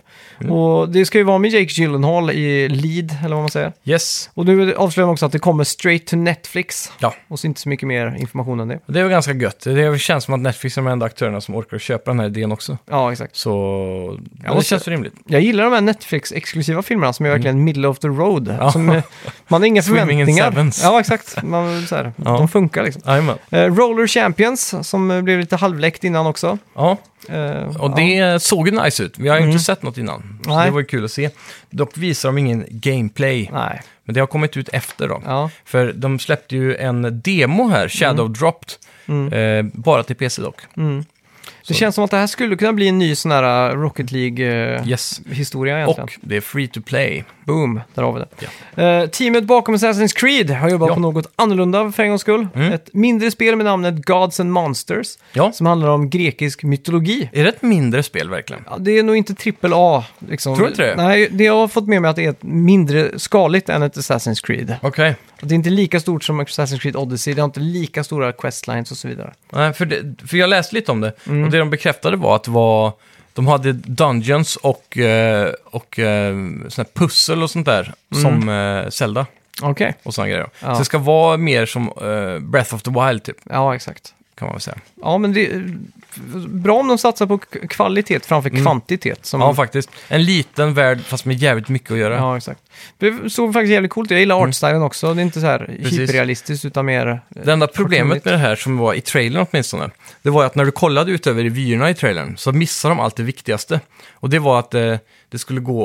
Och det ska ju vara med Jake Gyllenhaal i lead, eller vad man säger.
Yes.
Och nu avslöjar de också att det kommer straight to Netflix.
Ja,
Och så inte så mycket mer information än det.
och det är väl ganska gött. Det känns som att Netflix är de enda aktörerna som orkar köpa den här idén också.
Ja, exakt.
Så ja, det
måste-
känns rimligt.
Jag gillar de här Netflix-exklusiva filmerna som är verkligen middle of the road.
Mm. Ja.
Som, eh, man har inga
*laughs* Swimming in
förväntningar.
sevens.
Ja, exakt. Man, så här,
Ja.
De funkar liksom.
Jajamän.
Eh, Roller Champions, som eh, blev lite halvläckt innan också.
Ja,
Eh,
och
ja. Mm.
det såg ju nice ut. Vi har ju inte sett något innan. Så
Nej.
det var ju kul att se. Dock visar de ingen gameplay.
Nej.
Men det har kommit ut efter då.
Ja.
För de släppte ju en demo här, Shadow
Mm.
Dropped. Eh, bara till PC dock.
Det känns som att det här skulle kunna bli en ny sån här eh, Rocket League-historia
Yes.
egentligen.
Och det är free to play.
Boom, där har vi det. Eh, teamet bakom Assassin's Creed har jobbat
Ja. Mm.
på något annorlunda för en gångs skull. Ett mindre spel med namnet Gods and Monsters,
Ja.
som handlar om grekisk mytologi.
Är det ett mindre spel verkligen?
Ja, det är nog inte trippel A. Liksom.
Tror du inte det?
Nej, det jag har fått med mig är att det är ett mindre skaligt än ett Assassin's Creed.
Okej.
Det är inte lika stort som Assassin's Creed Odyssey, det har inte lika stora questlines och så vidare.
Nej, för, det, för jag läste lite om det.
Mm.
Och det de bekräftade var att det var, de hade Dungeons och, eh, och eh, såna här pussel och sånt där. Som eh, Zelda
Okej.
och såna grejer.
Mm. Ja.
Så det ska vara mer som eh, Breath of the Wild typ,
Ja, exakt.
kan man väl säga.
Ja, men det är bra om de satsar på k- kvalitet framför kvantitet. Som
Mm. Ja, faktiskt. En liten värld fast med jävligt mycket att göra.
Mm. Ja, exakt. Det såg faktiskt jävligt coolt ut. Jag
Mm.
gillar artstylen också. Det är inte så här hyperrealistiskt utan mer... eh,
Det enda problemet med det här som var i trailern åtminstone, det var ju att när du kollade ut över i vyerna i trailern så missade de allt det viktigaste. Och det var att eh, det skulle gå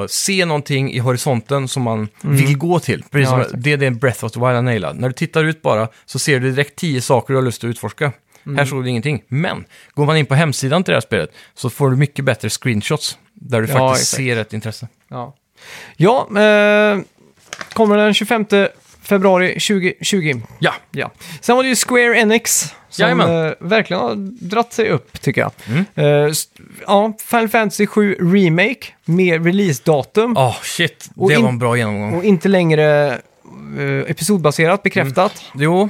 att se någonting i horisonten som man vill gå till. Precis
Mm. Ja,
som
exakt.
det är det Breath of the Wild har nailat. När du tittar ut bara så ser du direkt tio saker du har lust att utforska.
mm,
Här såg du ingenting. Men går man in på hemsidan till det här spelet så får du mycket bättre screenshots där du
Ja,
faktiskt
exakt.
ser ett intresse.
Ja, ja eh, kommer den 25 februari 2020.
Ja,
Ja. Sen var det ju Square Enix Som
Jajamän. Mm.
eh, verkligen har dratt sig upp, tycker jag. Eh, st- ja, Final Fantasy 7 Remake med releasedatum.
Ah, shit.
Och
det
in-
var en bra genomgång.
Och inte längre eh, episodbaserat, bekräftat.
Jo,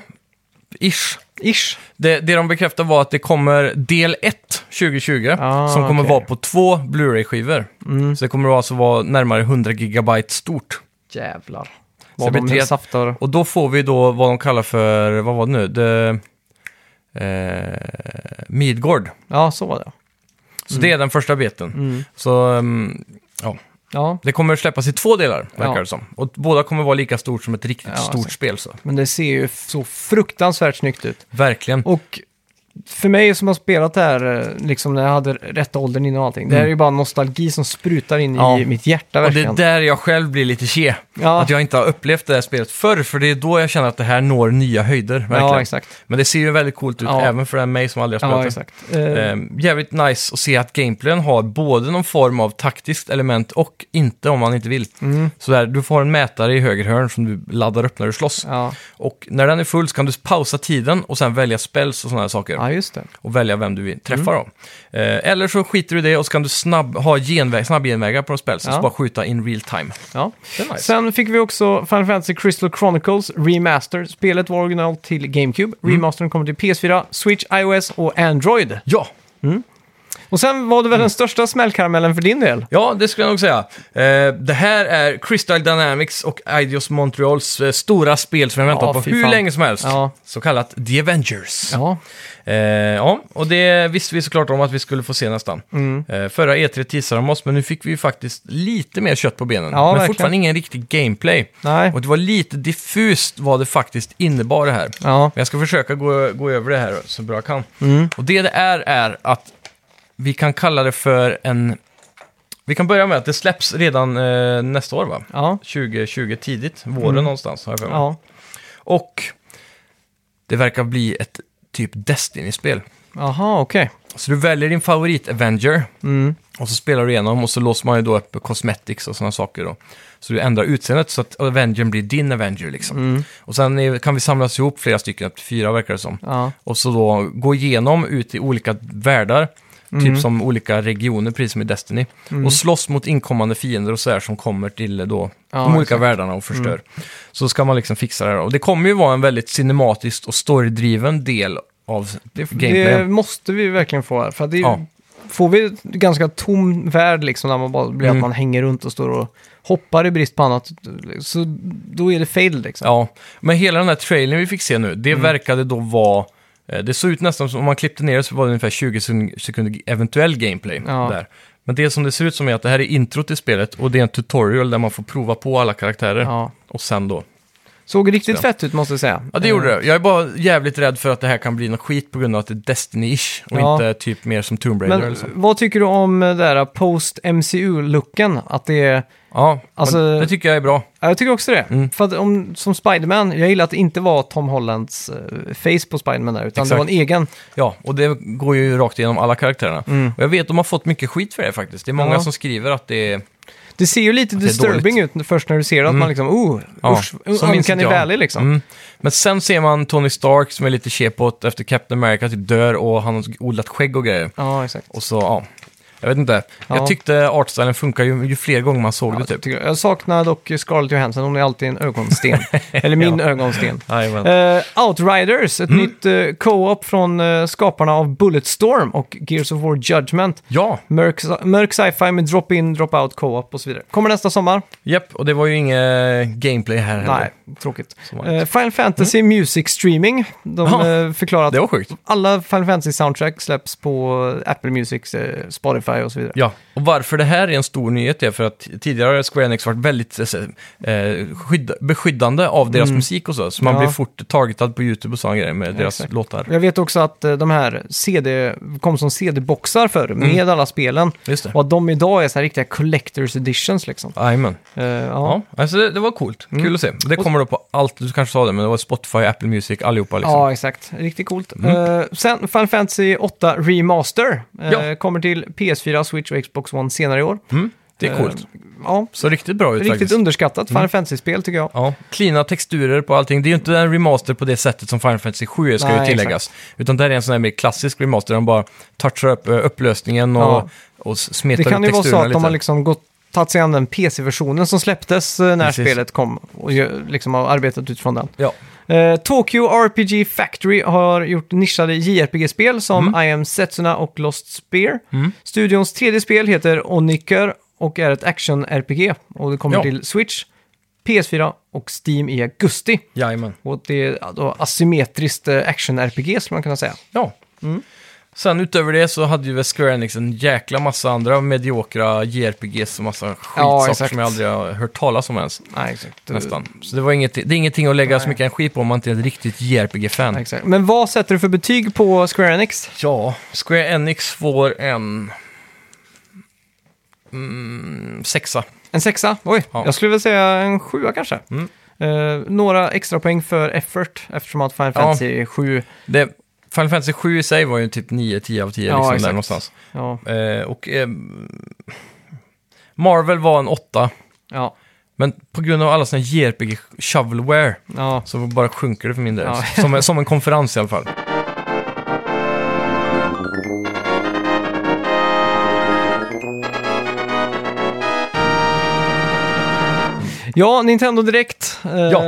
ish.
Ish.
Det, det de bekräftade var att det kommer del 1 2020
Ah,
som kommer
okej.
vara på två Blu-ray-skivor.
Mm.
Så det kommer alltså vara närmare 100 gigabyte stort.
Jävlar.
det
Vad
blir
de
tre-
saftar.
Och då får vi då vad de kallar för, vad var det nu? Det, eh, Midgård.
Ja, så var det. Mm.
Så det är den första biten. Så ehm, ja,
Ja,
det kommer släppas i två delar, verkar
Ja.
det som. Och båda kommer vara lika stort som ett riktigt
Ja, alltså.
stort
säkert.
spel. Så.
men det ser ju f- så fruktansvärt snyggt ut.
Verkligen.
Och för mig som har spelat det här, eh, liksom när jag hade rätta åldern innan och allting, det här är ju bara nostalgi som sprutar in
Mm. Ja.
i mitt hjärta
Och det
verkligen.
är där jag själv blir lite tje.
Ja.
Att jag inte har upplevt det här spelet förr, för det är då jag känner att det här når nya höjder. Verkligen.
ja, exakt.
Men det ser ju väldigt coolt ut,
Ja.
även för mig som aldrig har spelat
Ja,
det.
exakt. Eh,
Ehm, jävligt nice att se att gameplayen har både någon form av taktiskt element och inte om man inte vill.
Eh, mm.
Så där, du får en mätare i höger hörn som du laddar upp när du slåss.
ja.
Och när den är full så kan du pausa tiden och sen välja spells och sådana här saker.
ja, Mm. just det.
Och välja vem du vill träffa då. Eh, eller så skiter du i det och så kan du snabb, ha genvä- snabb genvägar på spells.
Ja.
Så bara skjuta in real time.
Ja.
Det är nice.
Sen fick vi också Final Fantasy Crystal Chronicles Remaster. Spelet var original till GameCube. Remastern kommer till PS4, Switch, iOS och Android.
Ja,
Och sen var det väl den största smällkaramellen för din del?
Ja, det skulle jag nog säga. Eh, det här är Crystal Dynamics och Idios Montreals eh, stora spel som jag väntat
Ja,
på
fy
hur
fan.
länge som helst.
Ja.
Så kallat The Avengers. Ja.
Ja.
Eh, ja, och det visste vi såklart om att vi skulle få se nästan.
Mm.
Eh, förra E3 teasade de oss, men nu fick vi ju faktiskt lite mer kött på benen.
Ja,
men
verkligen.
fortfarande ingen riktig gameplay.
Nej.
Och det var lite diffust vad det faktiskt innebar det här.
Ja.
Men jag ska försöka gå, gå över det här så bra jag kan.
Mm.
Och det det är, är att vi kan kalla det för en... Vi kan börja med att det släpps redan eh, nästa år, va?
Ja. Mm.
2020 tidigt, våren någonstans har jag för mig.
Ja.
Och det verkar bli ett typ Destiny-spel.
Jaha, okej. Mm.
Så du väljer din favorit-Avenger och så spelar du igenom och så låser man ju då upp cosmetics och sådana saker då. Så du ändrar utseendet så att Avengern blir din Avenger liksom.
Mm.
Och sen är, kan vi samlas ihop flera stycken, upp till fyra verkar det som.
Ja.
Och så då gå igenom ut i olika världar,
Mm.
typ som olika regioner, precis som i Destiny. Och slåss mot inkommande fiender och sådär som kommer till eh, då
Ja,
de olika
exakt. Mm.
världarna och förstör. Så ska man liksom fixa det här. Och det kommer ju vara en väldigt cinematiskt och storydriven del av gameplayen.
Det måste vi verkligen få här. För att det är,
Ja.
får vi en ganska tom värld liksom, när man bara blir
Mm.
att man hänger runt och står och hoppar i brist på annat, så då är det fail liksom.
Ja, men hela den här trailern vi fick se nu, det
Mm.
verkade då vara... eh, Det såg ut nästan som, om man klippte ner det så var det ungefär 20 sekund- sekunder eventuell gameplay
Ja.
där. Men det som det ser ut som är att det här är intro till spelet och det är en tutorial där man får prova på alla karaktärer.
Ja.
Och sen då.
Såg riktigt
Så.
fett ut måste jag säga. Eh,
Ja, det gjorde det. Jag är bara jävligt rädd för att det här kan bli något skit på grund av att det är Destiny-ish och
Ja.
inte typ mer som Tomb Raider eller
Men
så.
vad tycker du om det där post-MCU-looken? Att det är...
Ja,
alltså-
men det tycker jag är bra.
Ja, jag tycker också det.
Mm.
För att om, som Spiderman, jag gillar att det inte var Tom Hollands eh, face på Spiderman där, utan
Exakt.
det var en egen.
Ja, och det går ju rakt igenom alla karaktärerna. Och jag vet, de har fått mycket skit för det faktiskt. Det är många
Mm. Ja.
som skriver att det är...
Det ser ju lite
det är Mm.
disturbing ut först när du ser det, att man liksom, oh,
Ja,
usch,
så minns
uncanny
inte jag.
valley liksom.
Mm. Men sen ser man Tony Stark som är lite chepot efter Captain America typ dör och han har odlat skägg och grejer.
Ja, exakt.
Och så, ja. Jag vet inte. Jag
Ja.
tyckte artstylen funkar ju, ju fler gånger man såg
Ja,
det typ.
tycker jag. jag saknar dock Scarlett Johansson, hon är alltid en
*laughs*
ögonsten. Eller min ögonsten.
Jajamän.
Eh, Outriders, ett
Mm.
nytt eh, co-op från eh, skaparna av Bulletstorm och Gears of War Judgment.
Ja,
Mörk, mörk sci-fi med drop-in, drop-out, co-op och så vidare. Kommer nästa sommar.
japp. Och det var ju inget gameplay här heller.
Nej, tråkigt.
Som vanligt.
Eh, Final Fantasy Music Streaming. De
Mm. Ja,
eh, förklarar att
Det var sjukt.
alla Final Fantasy soundtrack släpps på Apple Music, eh, Spotify och så vidare.
Ja, och varför det här är en stor nyhet är för att tidigare har Square Enix varit väldigt eh, skydda, beskyddande av deras musik och så. Så man
Mm. Ja.
blir fort targetad på YouTube och sådana grejer med deras
exakt.
låtar.
Jag vet också att eh, de här CD kom som CD-boxar förr
Mm.
med alla spelen.
Just det.
Och att de idag är så här riktiga collectors editions liksom.
Jajamän.
Eh, ja. Mm.
Ja, alltså det, det var coolt. Kul att se. Det kommer då på allt, du kanske sa det, men det var Spotify, Apple Music, allihopa liksom. Mm.
Ja, exakt. Riktigt coolt. Eh, sen Final Fantasy 8 Remaster eh,
Ja.
kommer till PS4, Switch och Xbox One senare i år.
Mm. Det är coolt.
Eh, ja,
Så riktigt bra ut
riktigt
faktiskt. Mm.
underskattat Final Fantasy-spel tycker jag.
Ja, klina texturer på allting. Det är ju inte en remaster på det sättet som Final Fantasy 7 är, ska ju
Nej,
tilläggas. Utan det här är en sån här mer klassisk remaster. De bara touchar upp eh, upplösningen och,
Ja.
och s- smetar
Det kan
ut
ju vara så
texturerna
att de har
lite.
liksom gått, tagit sig an den PC-versionen som släpptes eh, när
Precis.
spelet kom och ju- liksom har arbetat utifrån den.
Ja,
Eh, Tokyo RPG Factory har gjort nischade JRPG-spel som
Mm.
I am Setsuna och Lost Spear. Studions tredje spel heter Oniker och är ett action-RPG och det kommer
Ja.
till Switch, PS4 och Steam i augusti.
jajamän.
Och det är då asymmetriskt eh, action-RPG skulle man kunna säga.
Ja. Mm.
Mm.
Sen utöver det så hade ju väl Square Enix en jäkla massa andra mediokra JRPGs och massa skitsaker
exakt.
som jag aldrig har hört talas om ens.
Nej, exakt.
Nästan. Eh, Så det, var inget, det är ingenting att lägga så mycket energi på om man inte är ett riktigt JRPG-fan.
Nej, exakt. Men vad sätter du för betyg på Square Enix?
Ja, Square Enix får en... Mm, sexa.
En sexa? Oj,
Ja. Mm.
jag skulle vilja säga en sjua kanske. Eh, några extra poäng för effort eftersom att Final Fantasy 7...
Det, Final Fantasy 7 i sig var ju typ 9-10 av 10
Ja,
liksom, där
exakt.
någonstans.
Ja,
Eh, och eh, Marvel var en åtta,
ja,
men på grund av alla såna JRPG shovelware
ja.
så bara sjunker det för min del.
Ja.
Som, en- som en konferens i alla fall.
ja Nintendo Direkt. Eh,
Ja.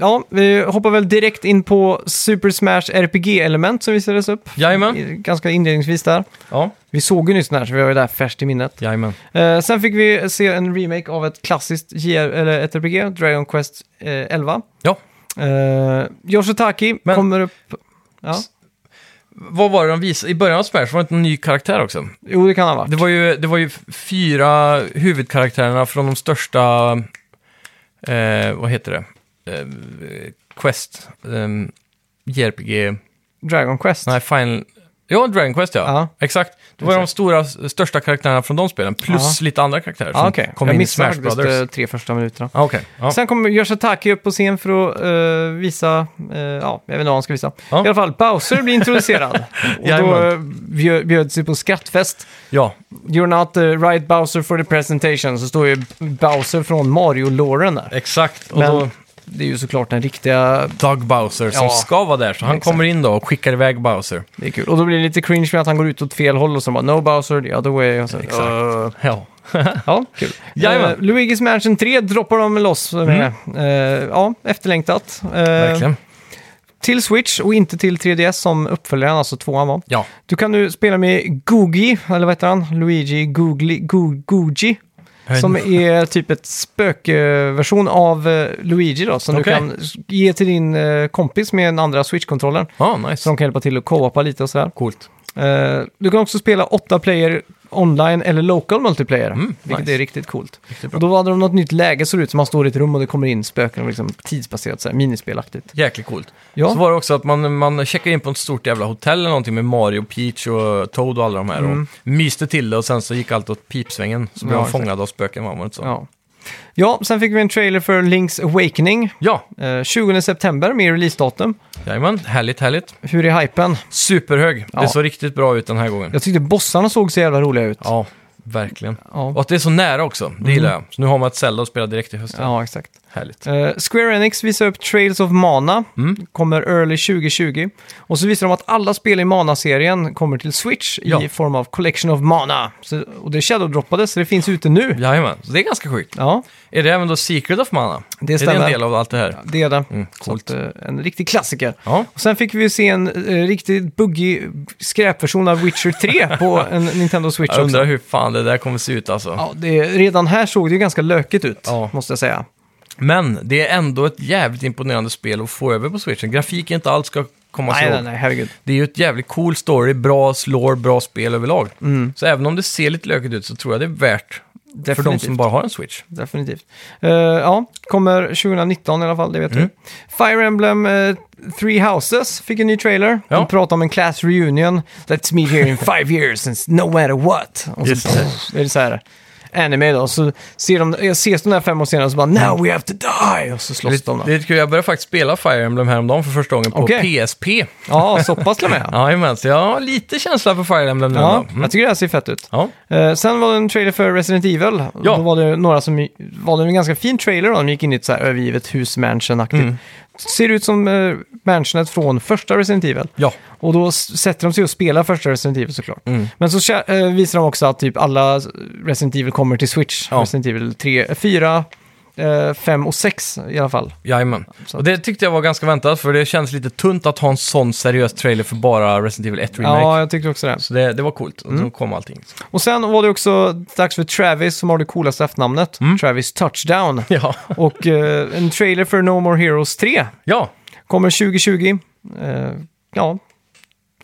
ja, vi hoppar väl direkt in på Super Smash RPG-element som visades upp. *laughs*
Jajamän.
I- Ganska inledningsvis där.
Ja,
Vi såg ju nyss den här, så vi har ju det här färskt i minnet.
jajamän.
Eh, sen fick vi se en remake av ett klassiskt JR, eller ett RPG, Dragon Quest eh, 11.
Ja.
Eh, Yoshitaki
Men-
kommer upp... Ja.
Vad var det de visade? I början av Smash var det inte en ny karaktär också?
Jo, det kan han vara.
Det var ju, det var ju fyra huvudkaraktärerna från de största, eh, vad heter det, eh, Quest, eh, JRPG,
Dragon Quest.
nej Final, ja Dragon Quest ja,
Ja.
exakt. Det var de stora, största karaktärerna från de spelen, plus lite andra karaktärer som
Ja, okej.
kom
jag
in i
missade
Smash
faktiskt eh,
Brothers.
de tre första minuterna.
Ah, okej. ja.
Sen kommer Yoshitaki upp på scen för att eh, visa, eh, ja, jag vet inte vad han ska visa.
Ja.
I alla fall, Bowser blir
*laughs*
introducerad. och då
Jajamän.
eh, bjö- bjöds vi på skrattfest.
ja,
You're not the right Bowser for the presentation, så står ju Bowser från Mario-låren där.
exakt. Och
Men-
då
Det är ju såklart den riktiga,
Doug Bowser som
Ja.
ska vara där, så han
Exakt.
kommer in då och skickar iväg Bowser.
det är kul. Och då blir det lite cringe med att han går ut åt fel håll och så bara no Bowser, the other way. Och så,
Exakt.
"Öh."
Ja,
ja, kul.
Jajamän. Mm.
Eh, Luigi's Mansion 3 droppar de loss med. Eh, ja, efterlängtat. Eh,
verkligen.
till Switch och inte till 3DS som uppföljaren, alltså tvåan var.
Ja,
Du kan nu spela med Googie, eller vad heter han? Luigi Googli, Go, Googie.
Jag vet
Som är typ ett spökversion av eh, Luigi då, som
Okej.
du kan s- ge till din eh, kompis med den andra Switch-kontrollen.
ah,
Så
nice.
de kan hjälpa till att co-opa lite och sådär.
Coolt.
Eh, du kan också spela åtta player online eller local multiplayer,
Mm,
vilket
nice.
är riktigt coolt.
Riktigt bra.
Och då hade de något nytt läge, såg det ut som man står i ett rum och det kommer in spöken och liksom tidsbaserat, sådär, minispelaktigt.
Jäkligt coolt.
Ja.
Så var det också att man, man checkade in på ett stort jävla hotell eller någonting med Mario, Peach och Toad och alla de här. Och myste till det och sen så gick allt åt pipsvängen. Så
Mm.
blev
Ja,
man
exakt.
fångad av spöken, var man inte så? Ja.
Ja. ja, sen fick vi en trailer för Link's Awakening.
ja,
Eh, 20 september med releasedatum.
jajamän. Härligt, härligt.
Hur är hypen?
Superhög.
Ja.
Det såg riktigt bra ut den här gången.
Jag tyckte bossarna såg så jävla roliga ut.
Ja, verkligen. Och
Ja,
att det är så nära också, det gillar jag. Så nu har man ett Zelda att spela direkt i hösten.
Mm. ja exakt.
Härligt.
Eh, Square Enix visar upp Trails of Mana.
Mm.
Kommer early 2020. Och så visar de att alla spel i Mana-serien kommer till Switch
Ja.
i form av Collection of Mana. Så, och det shadowdroppades, så det finns ute nu.
Jajamän, så det är ganska sjukt.
Ja,
Är det även då Secret of Mana?
Det
Är det
stämmer.
en del av allt det här?
det är det.
Mm,
så
coolt.
att, eh, en riktig klassiker.
Ja,
Och sen fick vi ju se en eh, riktigt buggig skräpversion av Witcher
*laughs*
3 på en Nintendo Switch
jag
också.
undrar hur fan det där kommer se ut alltså.
Ja, det, redan här såg det ju ganska lökigt ut,
Ja.
måste jag säga.
Men det är ändå ett jävligt imponerande spel att få över på switchen. Grafik är inte allt ska komma sig
Nej, nej,
ihåg.
nej, herregud.
Det är ju ett jävligt cool story, bra slår, bra spel överlag.
Mm.
Så även om det ser lite lökigt ut så tror jag det är värt för de
Definitivt.
som bara har en switch.
Definitivt. Eh, ja, kommer 2019 i alla fall, det vet
Mm.
vi. Fire Emblem eh, Three Houses fick en ny trailer.
Ja.
De pratar om en class reunion. Let's meet here in five years and no matter what. Och så
Just det.
pff, är det så här. anime då, så ser de, jag ses de där fem år senare och så bara “Now we have to die!” och så slåss
Det,
de. då.
det är kul, jag började faktiskt spela Fire Emblem häromdagen för första gången på
Okej.
PSP.
Ja, så pass till och
*laughs*
med.
Jajamän, så jag har lite känsla för Fire Emblem nu
Ja,
ändå. Mm.
jag tycker det här ser fett ut.
Ja.
Eh, sen var det en trailer för Resident Evil.
Ja.
Då var det några som var det en ganska fin trailer då. De gick in i ett så här övergivet hus, mansion-aktigt.
Mm.
Ser ut som eh, mansionet från första Resident Evil.
ja.
Och då s- sätter de sig och spelar första Resident Evil såklart.
Mm.
Men så kä- eh, visar de också att typ alla Resident Evil kommer till Switch.
Ja.
Resident Evil 3, 4, 5 och 6 i alla fall.
Jajamän.
Så-
Och det tyckte jag var ganska väntat, för det känns lite tunt att ha en sån seriös trailer för bara Resident Evil 1 Remake.
Ja, Mm. jag tyckte också det.
Så det, det var coolt, och så kom allting.
Och sen var det också dags för Travis som har det coolaste efternamnet.
Mm.
Travis Touchdown.
Ja,
Och eh, en trailer för No More Heroes 3
ja.
kommer 2020. Eh, ja,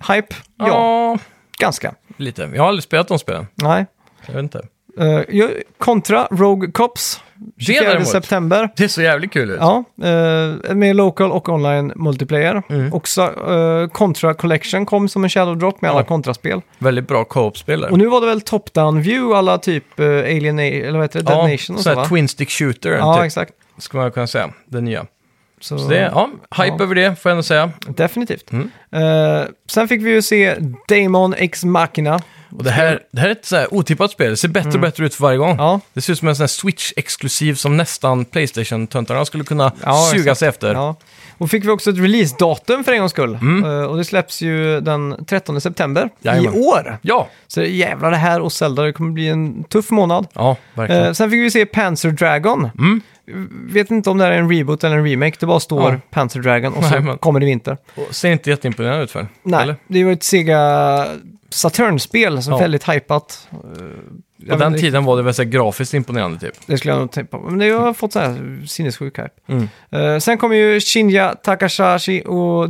hype? Ja,
ja.
ganska.
lite. Jag har aldrig spelat de spelen,
Nej.
jag vet inte.
Eh, jag- kontra Rogue Cops,
Det
24
däremot.
september.
Det ser jävligt kul ut.
Ja, eh, med local och online multiplayer. Också eh, Contra Collection kom som en shadow drop med alla
Mm. Ja.
kontraspel.
Väldigt bra co-op-spel där.
Och nu var det väl top-down view alla typ eh, Alien, A- eller vad heter det, Dead Nation och
så
så
här
va?
Twin Stick Shooter,
Ja,
typ,
exakt.
skulle man kunna säga. Det nya.
Så,
Så det, ja, hype
Ja.
över det, får jag ändå säga.
definitivt.
Mm.
Eh, sen fick vi ju se Damon X Machina.
Och det här, det här är ett så här otippat spel, det ser bättre och bättre ut för varje gång.
Mm. Ja,
Det ser ut som en sån här Switch-exklusiv som nästan Playstation-töntarna skulle kunna
Ja,
suga
exakt.
sig efter.
ja. Och fick vi också ett releasedatum för en gångs skull. Eh, och det släpps ju den 13 september
Mm. Jajamän.
i år.
Ja,
Så jävlar det här och Zelda, det kommer bli en tuff månad.
ja verkligen.
Eh, sen fick vi se Panzer Dragon.
Mm.
Vet inte om det här är en reboot eller en remake, det bara står
Ja.
Panzer Dragon och så
Nej, men-
kommer det i vinter.
Och ser inte jätteimponerande ut för
Nej,
eller?
det var ett Sega Saturn-spel som
Ja.
är väldigt hypat. Eh, jag
På
vet
den
inte-
tiden var det väl så här grafiskt imponerande typ.
Det skulle jag nog tänka på. Men det har fått så här sinnessjuk hype.
Mm.
Eh, sen kommer ju Shinja Takahashi och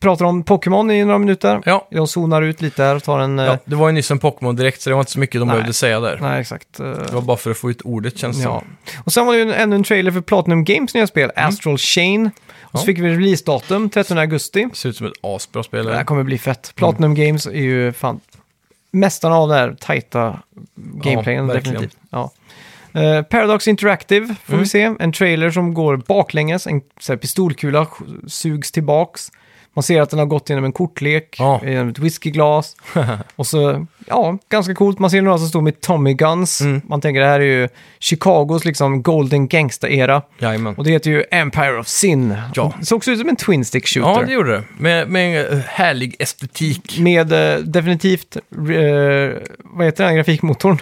pratar om Pokémon i några minuter.
Ja.
Jag zonar ut lite här och tar en... eh,
ja, det var ju nyss en Pokémon direkt så det var inte så mycket de
Nej.
behövde säga där.
Nej, exakt. eh,
Det var bara för att få ut ordet känns det
ja.
som.
Och sen var det ju en- ännu en trailer för Platinum Games nya spel, Astral Chain. Och
Mm. Ja.
så fick vi releasedatum, 13 augusti.
Ser ut som ett asbra spel.
Det här
eller?
kommer bli fett. Platinum
Mm.
Games är ju fan mästarna av det här tajta gameplayen,
verkligen.
definitivt. Ja. Eh, Paradox Interactive får
Mm.
vi se. En trailer som går baklänges, en så här, pistolkula sk- sugs tillbaks. Man ser att den har gått genom en kortlek,
Ja.
genom ett
*laughs*
whiskyglas. och så, ja, ganska coolt. Man ser några som står med Tommy Guns.
Mm.
Man tänker det här är ju Chicagos liksom Golden Gangsta-era.
Jajamän.
Och det heter ju Empire of Sin.
Ja.
Det såg också ut som en Twin Stick Shooter.
Ja, det gjorde det. Med, med en eh, härlig estetik.
Med eh, definitivt, eh, vad heter den här grafikmotorn?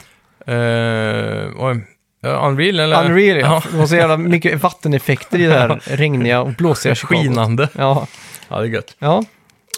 Uh, oj. Ja, Unreal eller?
Unreal, ja.
Eh, Ja.
Det var så jävla mycket vatteneffekter i det
*laughs*
här regniga och blåsiga Chicago.
Skinande.
Ja,
Ja, det är gött.
ja.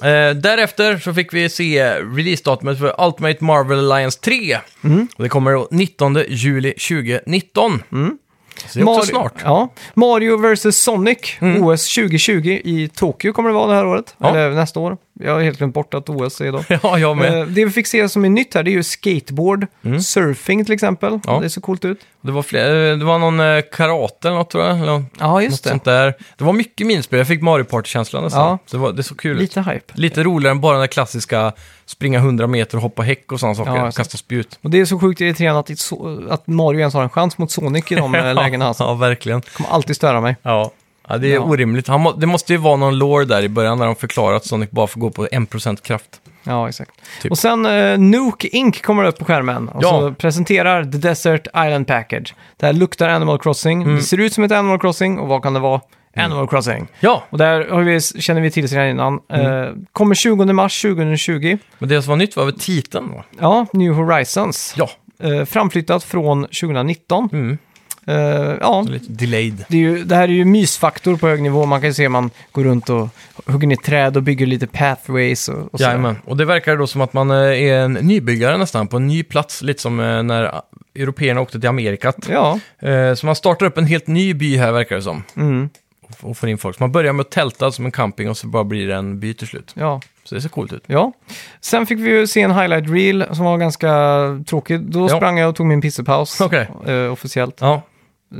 Eh, därefter så fick vi se releasedatumet för Ultimate Marvel Alliance 3.
Mm.
Och det kommer då 19 juli 2019.
Mm.
Så det är också
Mario-
snart. *laughs*
Ja. Mario vs. Sonic, OS 2020 i Tokyo kommer det vara det här året.
Ja.
Eller nästa år. Jag har helt glömt bort att OS är då.
Ja, *laughs* jag med. Mm.
Eh, Det vi fick se som är nytt här, det är ju skateboard, surfing till exempel.
Ja.
Det ser coolt ut.
Det var, fler, eh, det var någon eh, karate eller något tror jag. Eller något
Ja, just
sånt där. Det var mycket minspel. Jag fick Mario Party-känslan nästan.
Ja.
Så det, var, det såg kul ut.
Lite hype.
Lite roligare än bara den där klassiska springa 100 meter och hoppa häck och sådana saker.
Ja, exakt.
Kasta spjut.
Och det är så sjukt irriterande att, det är så- att Mario ens har en chans mot Sonic i
*laughs*
de eh, lägena. Alltså.
Ja, verkligen.
kommer alltid störa mig.
Ja. Ja, det är
Ja.
orimligt. Han må, det måste ju vara någon lore där i början när de förklarar att Sonic bara får gå på 1% kraft.
Ja, exakt.
Typ.
Och sen eh, Nuke Inc. kommer upp på skärmen och
Ja.
så presenterar The Desert Island Package. Det här luktar Animal Crossing, det ser ut som ett Animal Crossing och vad kan det vara? Animal Crossing.
Ja,
Och där har vi, känner vi till sedan innan. Eh, kommer 20 mars 2020.
men det som var nytt var väl titeln då?
Ja, New Horizons.
Ja,
Eh, framflyttat från 2019.
Mm.
Eh, ja,
lite delayed.
det, är ju, det här är ju mysfaktor på hög nivå. Man kan ju se man går runt och hugger ner träd och bygger lite pathways och, och sådär.
Jajamän, och det verkar då som att man eh, är en nybyggare nästan, på en ny plats, lite som eh, när eh, européerna åkte till Amerikat.
Ja,
Eh, Så man startar upp en helt ny by här verkar det som,
mm,
och- och får in folk. Så man börjar med att tälta som en camping och så bara blir det en by till slut.
ja.
Så det ser coolt ut.
Ja. Sen fick vi ju se en highlight reel som var ganska tråkig. Då
Ja.
sprang jag och tog min pissepaus
Okej.
eh, officiellt.
Ja,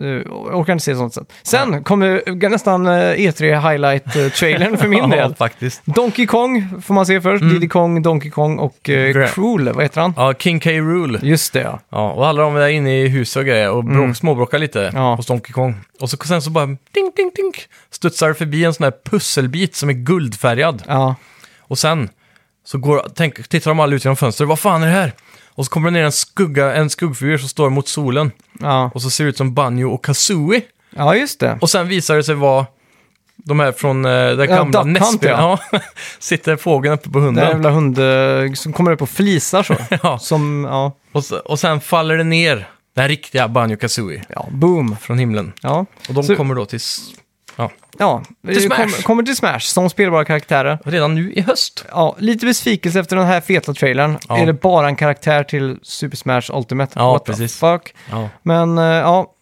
Eh, orkar inte se sånt sen. Sen kommer nästan eh, E3 highlight-trailern eh, för min del.
*laughs* Ja, Mm. faktiskt.
Donkey Kong får man se först. Diddy Kong, Donkey Kong och
Gra-
uh, Cruel, vad heter han?
Ja, King K. Rule.
Just det ja.
Ja, och alla de där inne i huset och grejer och bråk, småbråkar lite
Mm. Ja.
hos Donkey Kong. Och så, sen så bara ding, ding, ding, studsar det förbi en sån här pusselbit som är guldfärgad.
ja.
Och sen så går, tänk, tittar de alla ut genom fönstret, vad fan är det här? Och så kommer det ner en, skugga, en skuggfigur som står mot solen.
Ja,
Och så ser det ut som Banjo och Kazooie.
ja just det.
Och sen visar det sig vara de här från eh, det
Ja,
gamla
Duck Hunt,
Nässpelen. Ja. *laughs* Sitter fågeln uppe på
Den
hunden.
jävla hund eh, som kommer upp och flisar så.
*laughs* Ja.
Som, ja,
Och, så, och sen faller det ner den riktiga Banjo Kazooie
ja boom.
från himlen.
Ja,
Och de
Så-
kommer då till... s- Ja,
ja.
Till Smash.
Kommer- kommer till Smash som spelbara karaktärer.
redan nu i höst.
Ja, lite besvikelse efter den här feta trailern.
Ja.
Är det bara en karaktär till Super Smash Ultimate?
Ja,
What
precis.
the fuck?
Ja.
Men eh, ja,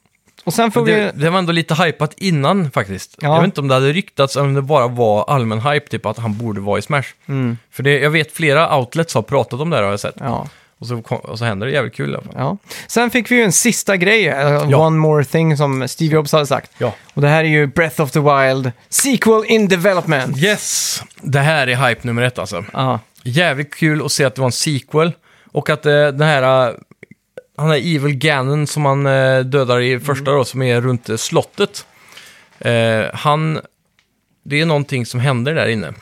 och sen får
Det,
vi...
det var ändå lite hypat innan faktiskt.
Ja.
Jag vet inte om det hade ryktats eller om det bara var allmän hype, typ att han borde vara i Smash.
Mm,
För det, jag vet flera outlets har pratat om det här har jag sett.
ja,
Och, så kom, och så händer det jävligt kul i alla fall.
ja. Sen fick vi ju en sista grej, eh,
Ja.
One More Thing, som Steve Jobs hade sagt.
Ja.
Och det här är ju Breath of the Wild, sequel in development.
Yes! Det här är hype nummer ett alltså.
Ja,
Jävligt kul att se att det var en sequel. Och att eh, den här... eh, Han är Evil Ganon som man eh, dödar i första då, som är runt eh, slottet. Eh, han... Det är någonting som händer där inne.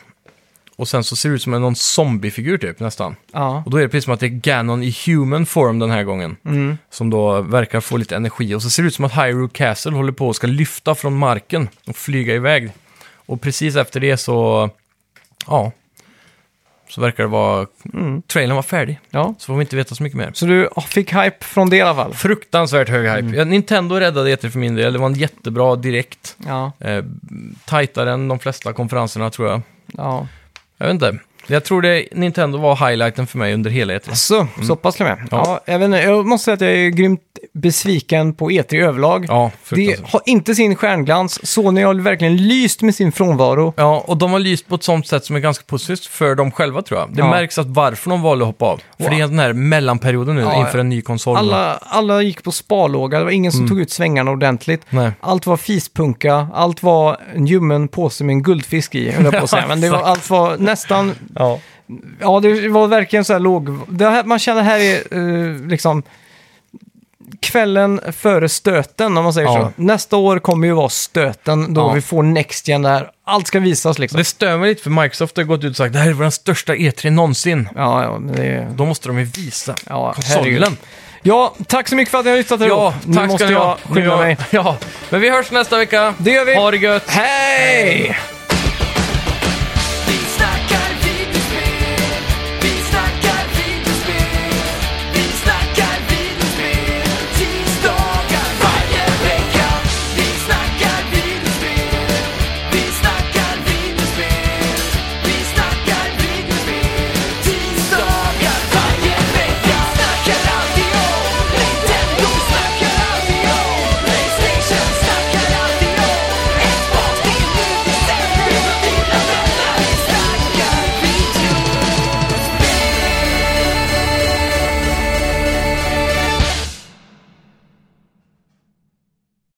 Och sen så ser det ut som en någon zombiefigur typ nästan.
ja.
Och då är det precis som att det är Ganon i human form den här gången.
Mm.
Som då verkar få lite energi. Och så ser det ut som att Hyrule Castle håller på att ska lyfta från marken och flyga iväg. Och precis efter det så, ja, så verkar det vara,
Mm.
trailern var färdig.
ja.
Så får vi inte veta så mycket mer.
Så du ja, fick hype från det i alla fall?
Fruktansvärt hög hype.
Mm.
Ja, Nintendo räddade E3 för min del. Det var en jättebra direkt.
Ja,
Eh, tajtare än de flesta konferenserna tror jag.
ja.
Jag vet inte. Jag tror det, Nintendo var highlighten för mig under hela E E3.
Så, så pass till och med. Ja.
Mm. Ja.
jag, vet inte, jag måste säga att jag är grymt besviken på E3 överlag.
Ja, fruktansvärt.
det har inte sin stjärnglans. Sony har verkligen lyst med sin frånvaro.
Ja, och de har lyst på ett sånt sätt som är ganska positivt för dem själva tror jag. Det
Ja.
märks att varför de valde att hoppa av. För
Wow.
det är den här mellanperioden nu
Ja,
inför en ny konsol.
Alla, alla gick på sparlåga, det var ingen som tog ut svängarna ordentligt.
Mm. Nej.
Allt var fispunka, allt var en ljummen påse med en guldfisk i, höll jag på att
*laughs*
säga. Men det var,
exakt.
allt var nästan,
Ja.
ja det var verkligen så här låg... Det här, man känner här är eh, liksom kvällen före stöten, om man säger
Ja.
så. Nästa år kommer ju vara stöten då
Ja.
vi får Next Gen där allt ska visas liksom.
Det stör mig lite för Microsoft har gått ut och sagt det här är den största E3 någonsin.
Ja, ja, men det är...
Då måste de ju visa
Ja, herregud.
konsolen.
Ja, tack så mycket för att ni har lyssnat idag.
Ja,
nu
tack
måste
ska ni ha.
jag skynda mig.
Ja, men vi hörs nästa vecka.
Det gör vi.
Ha det gött.
Hej!
Vi snackar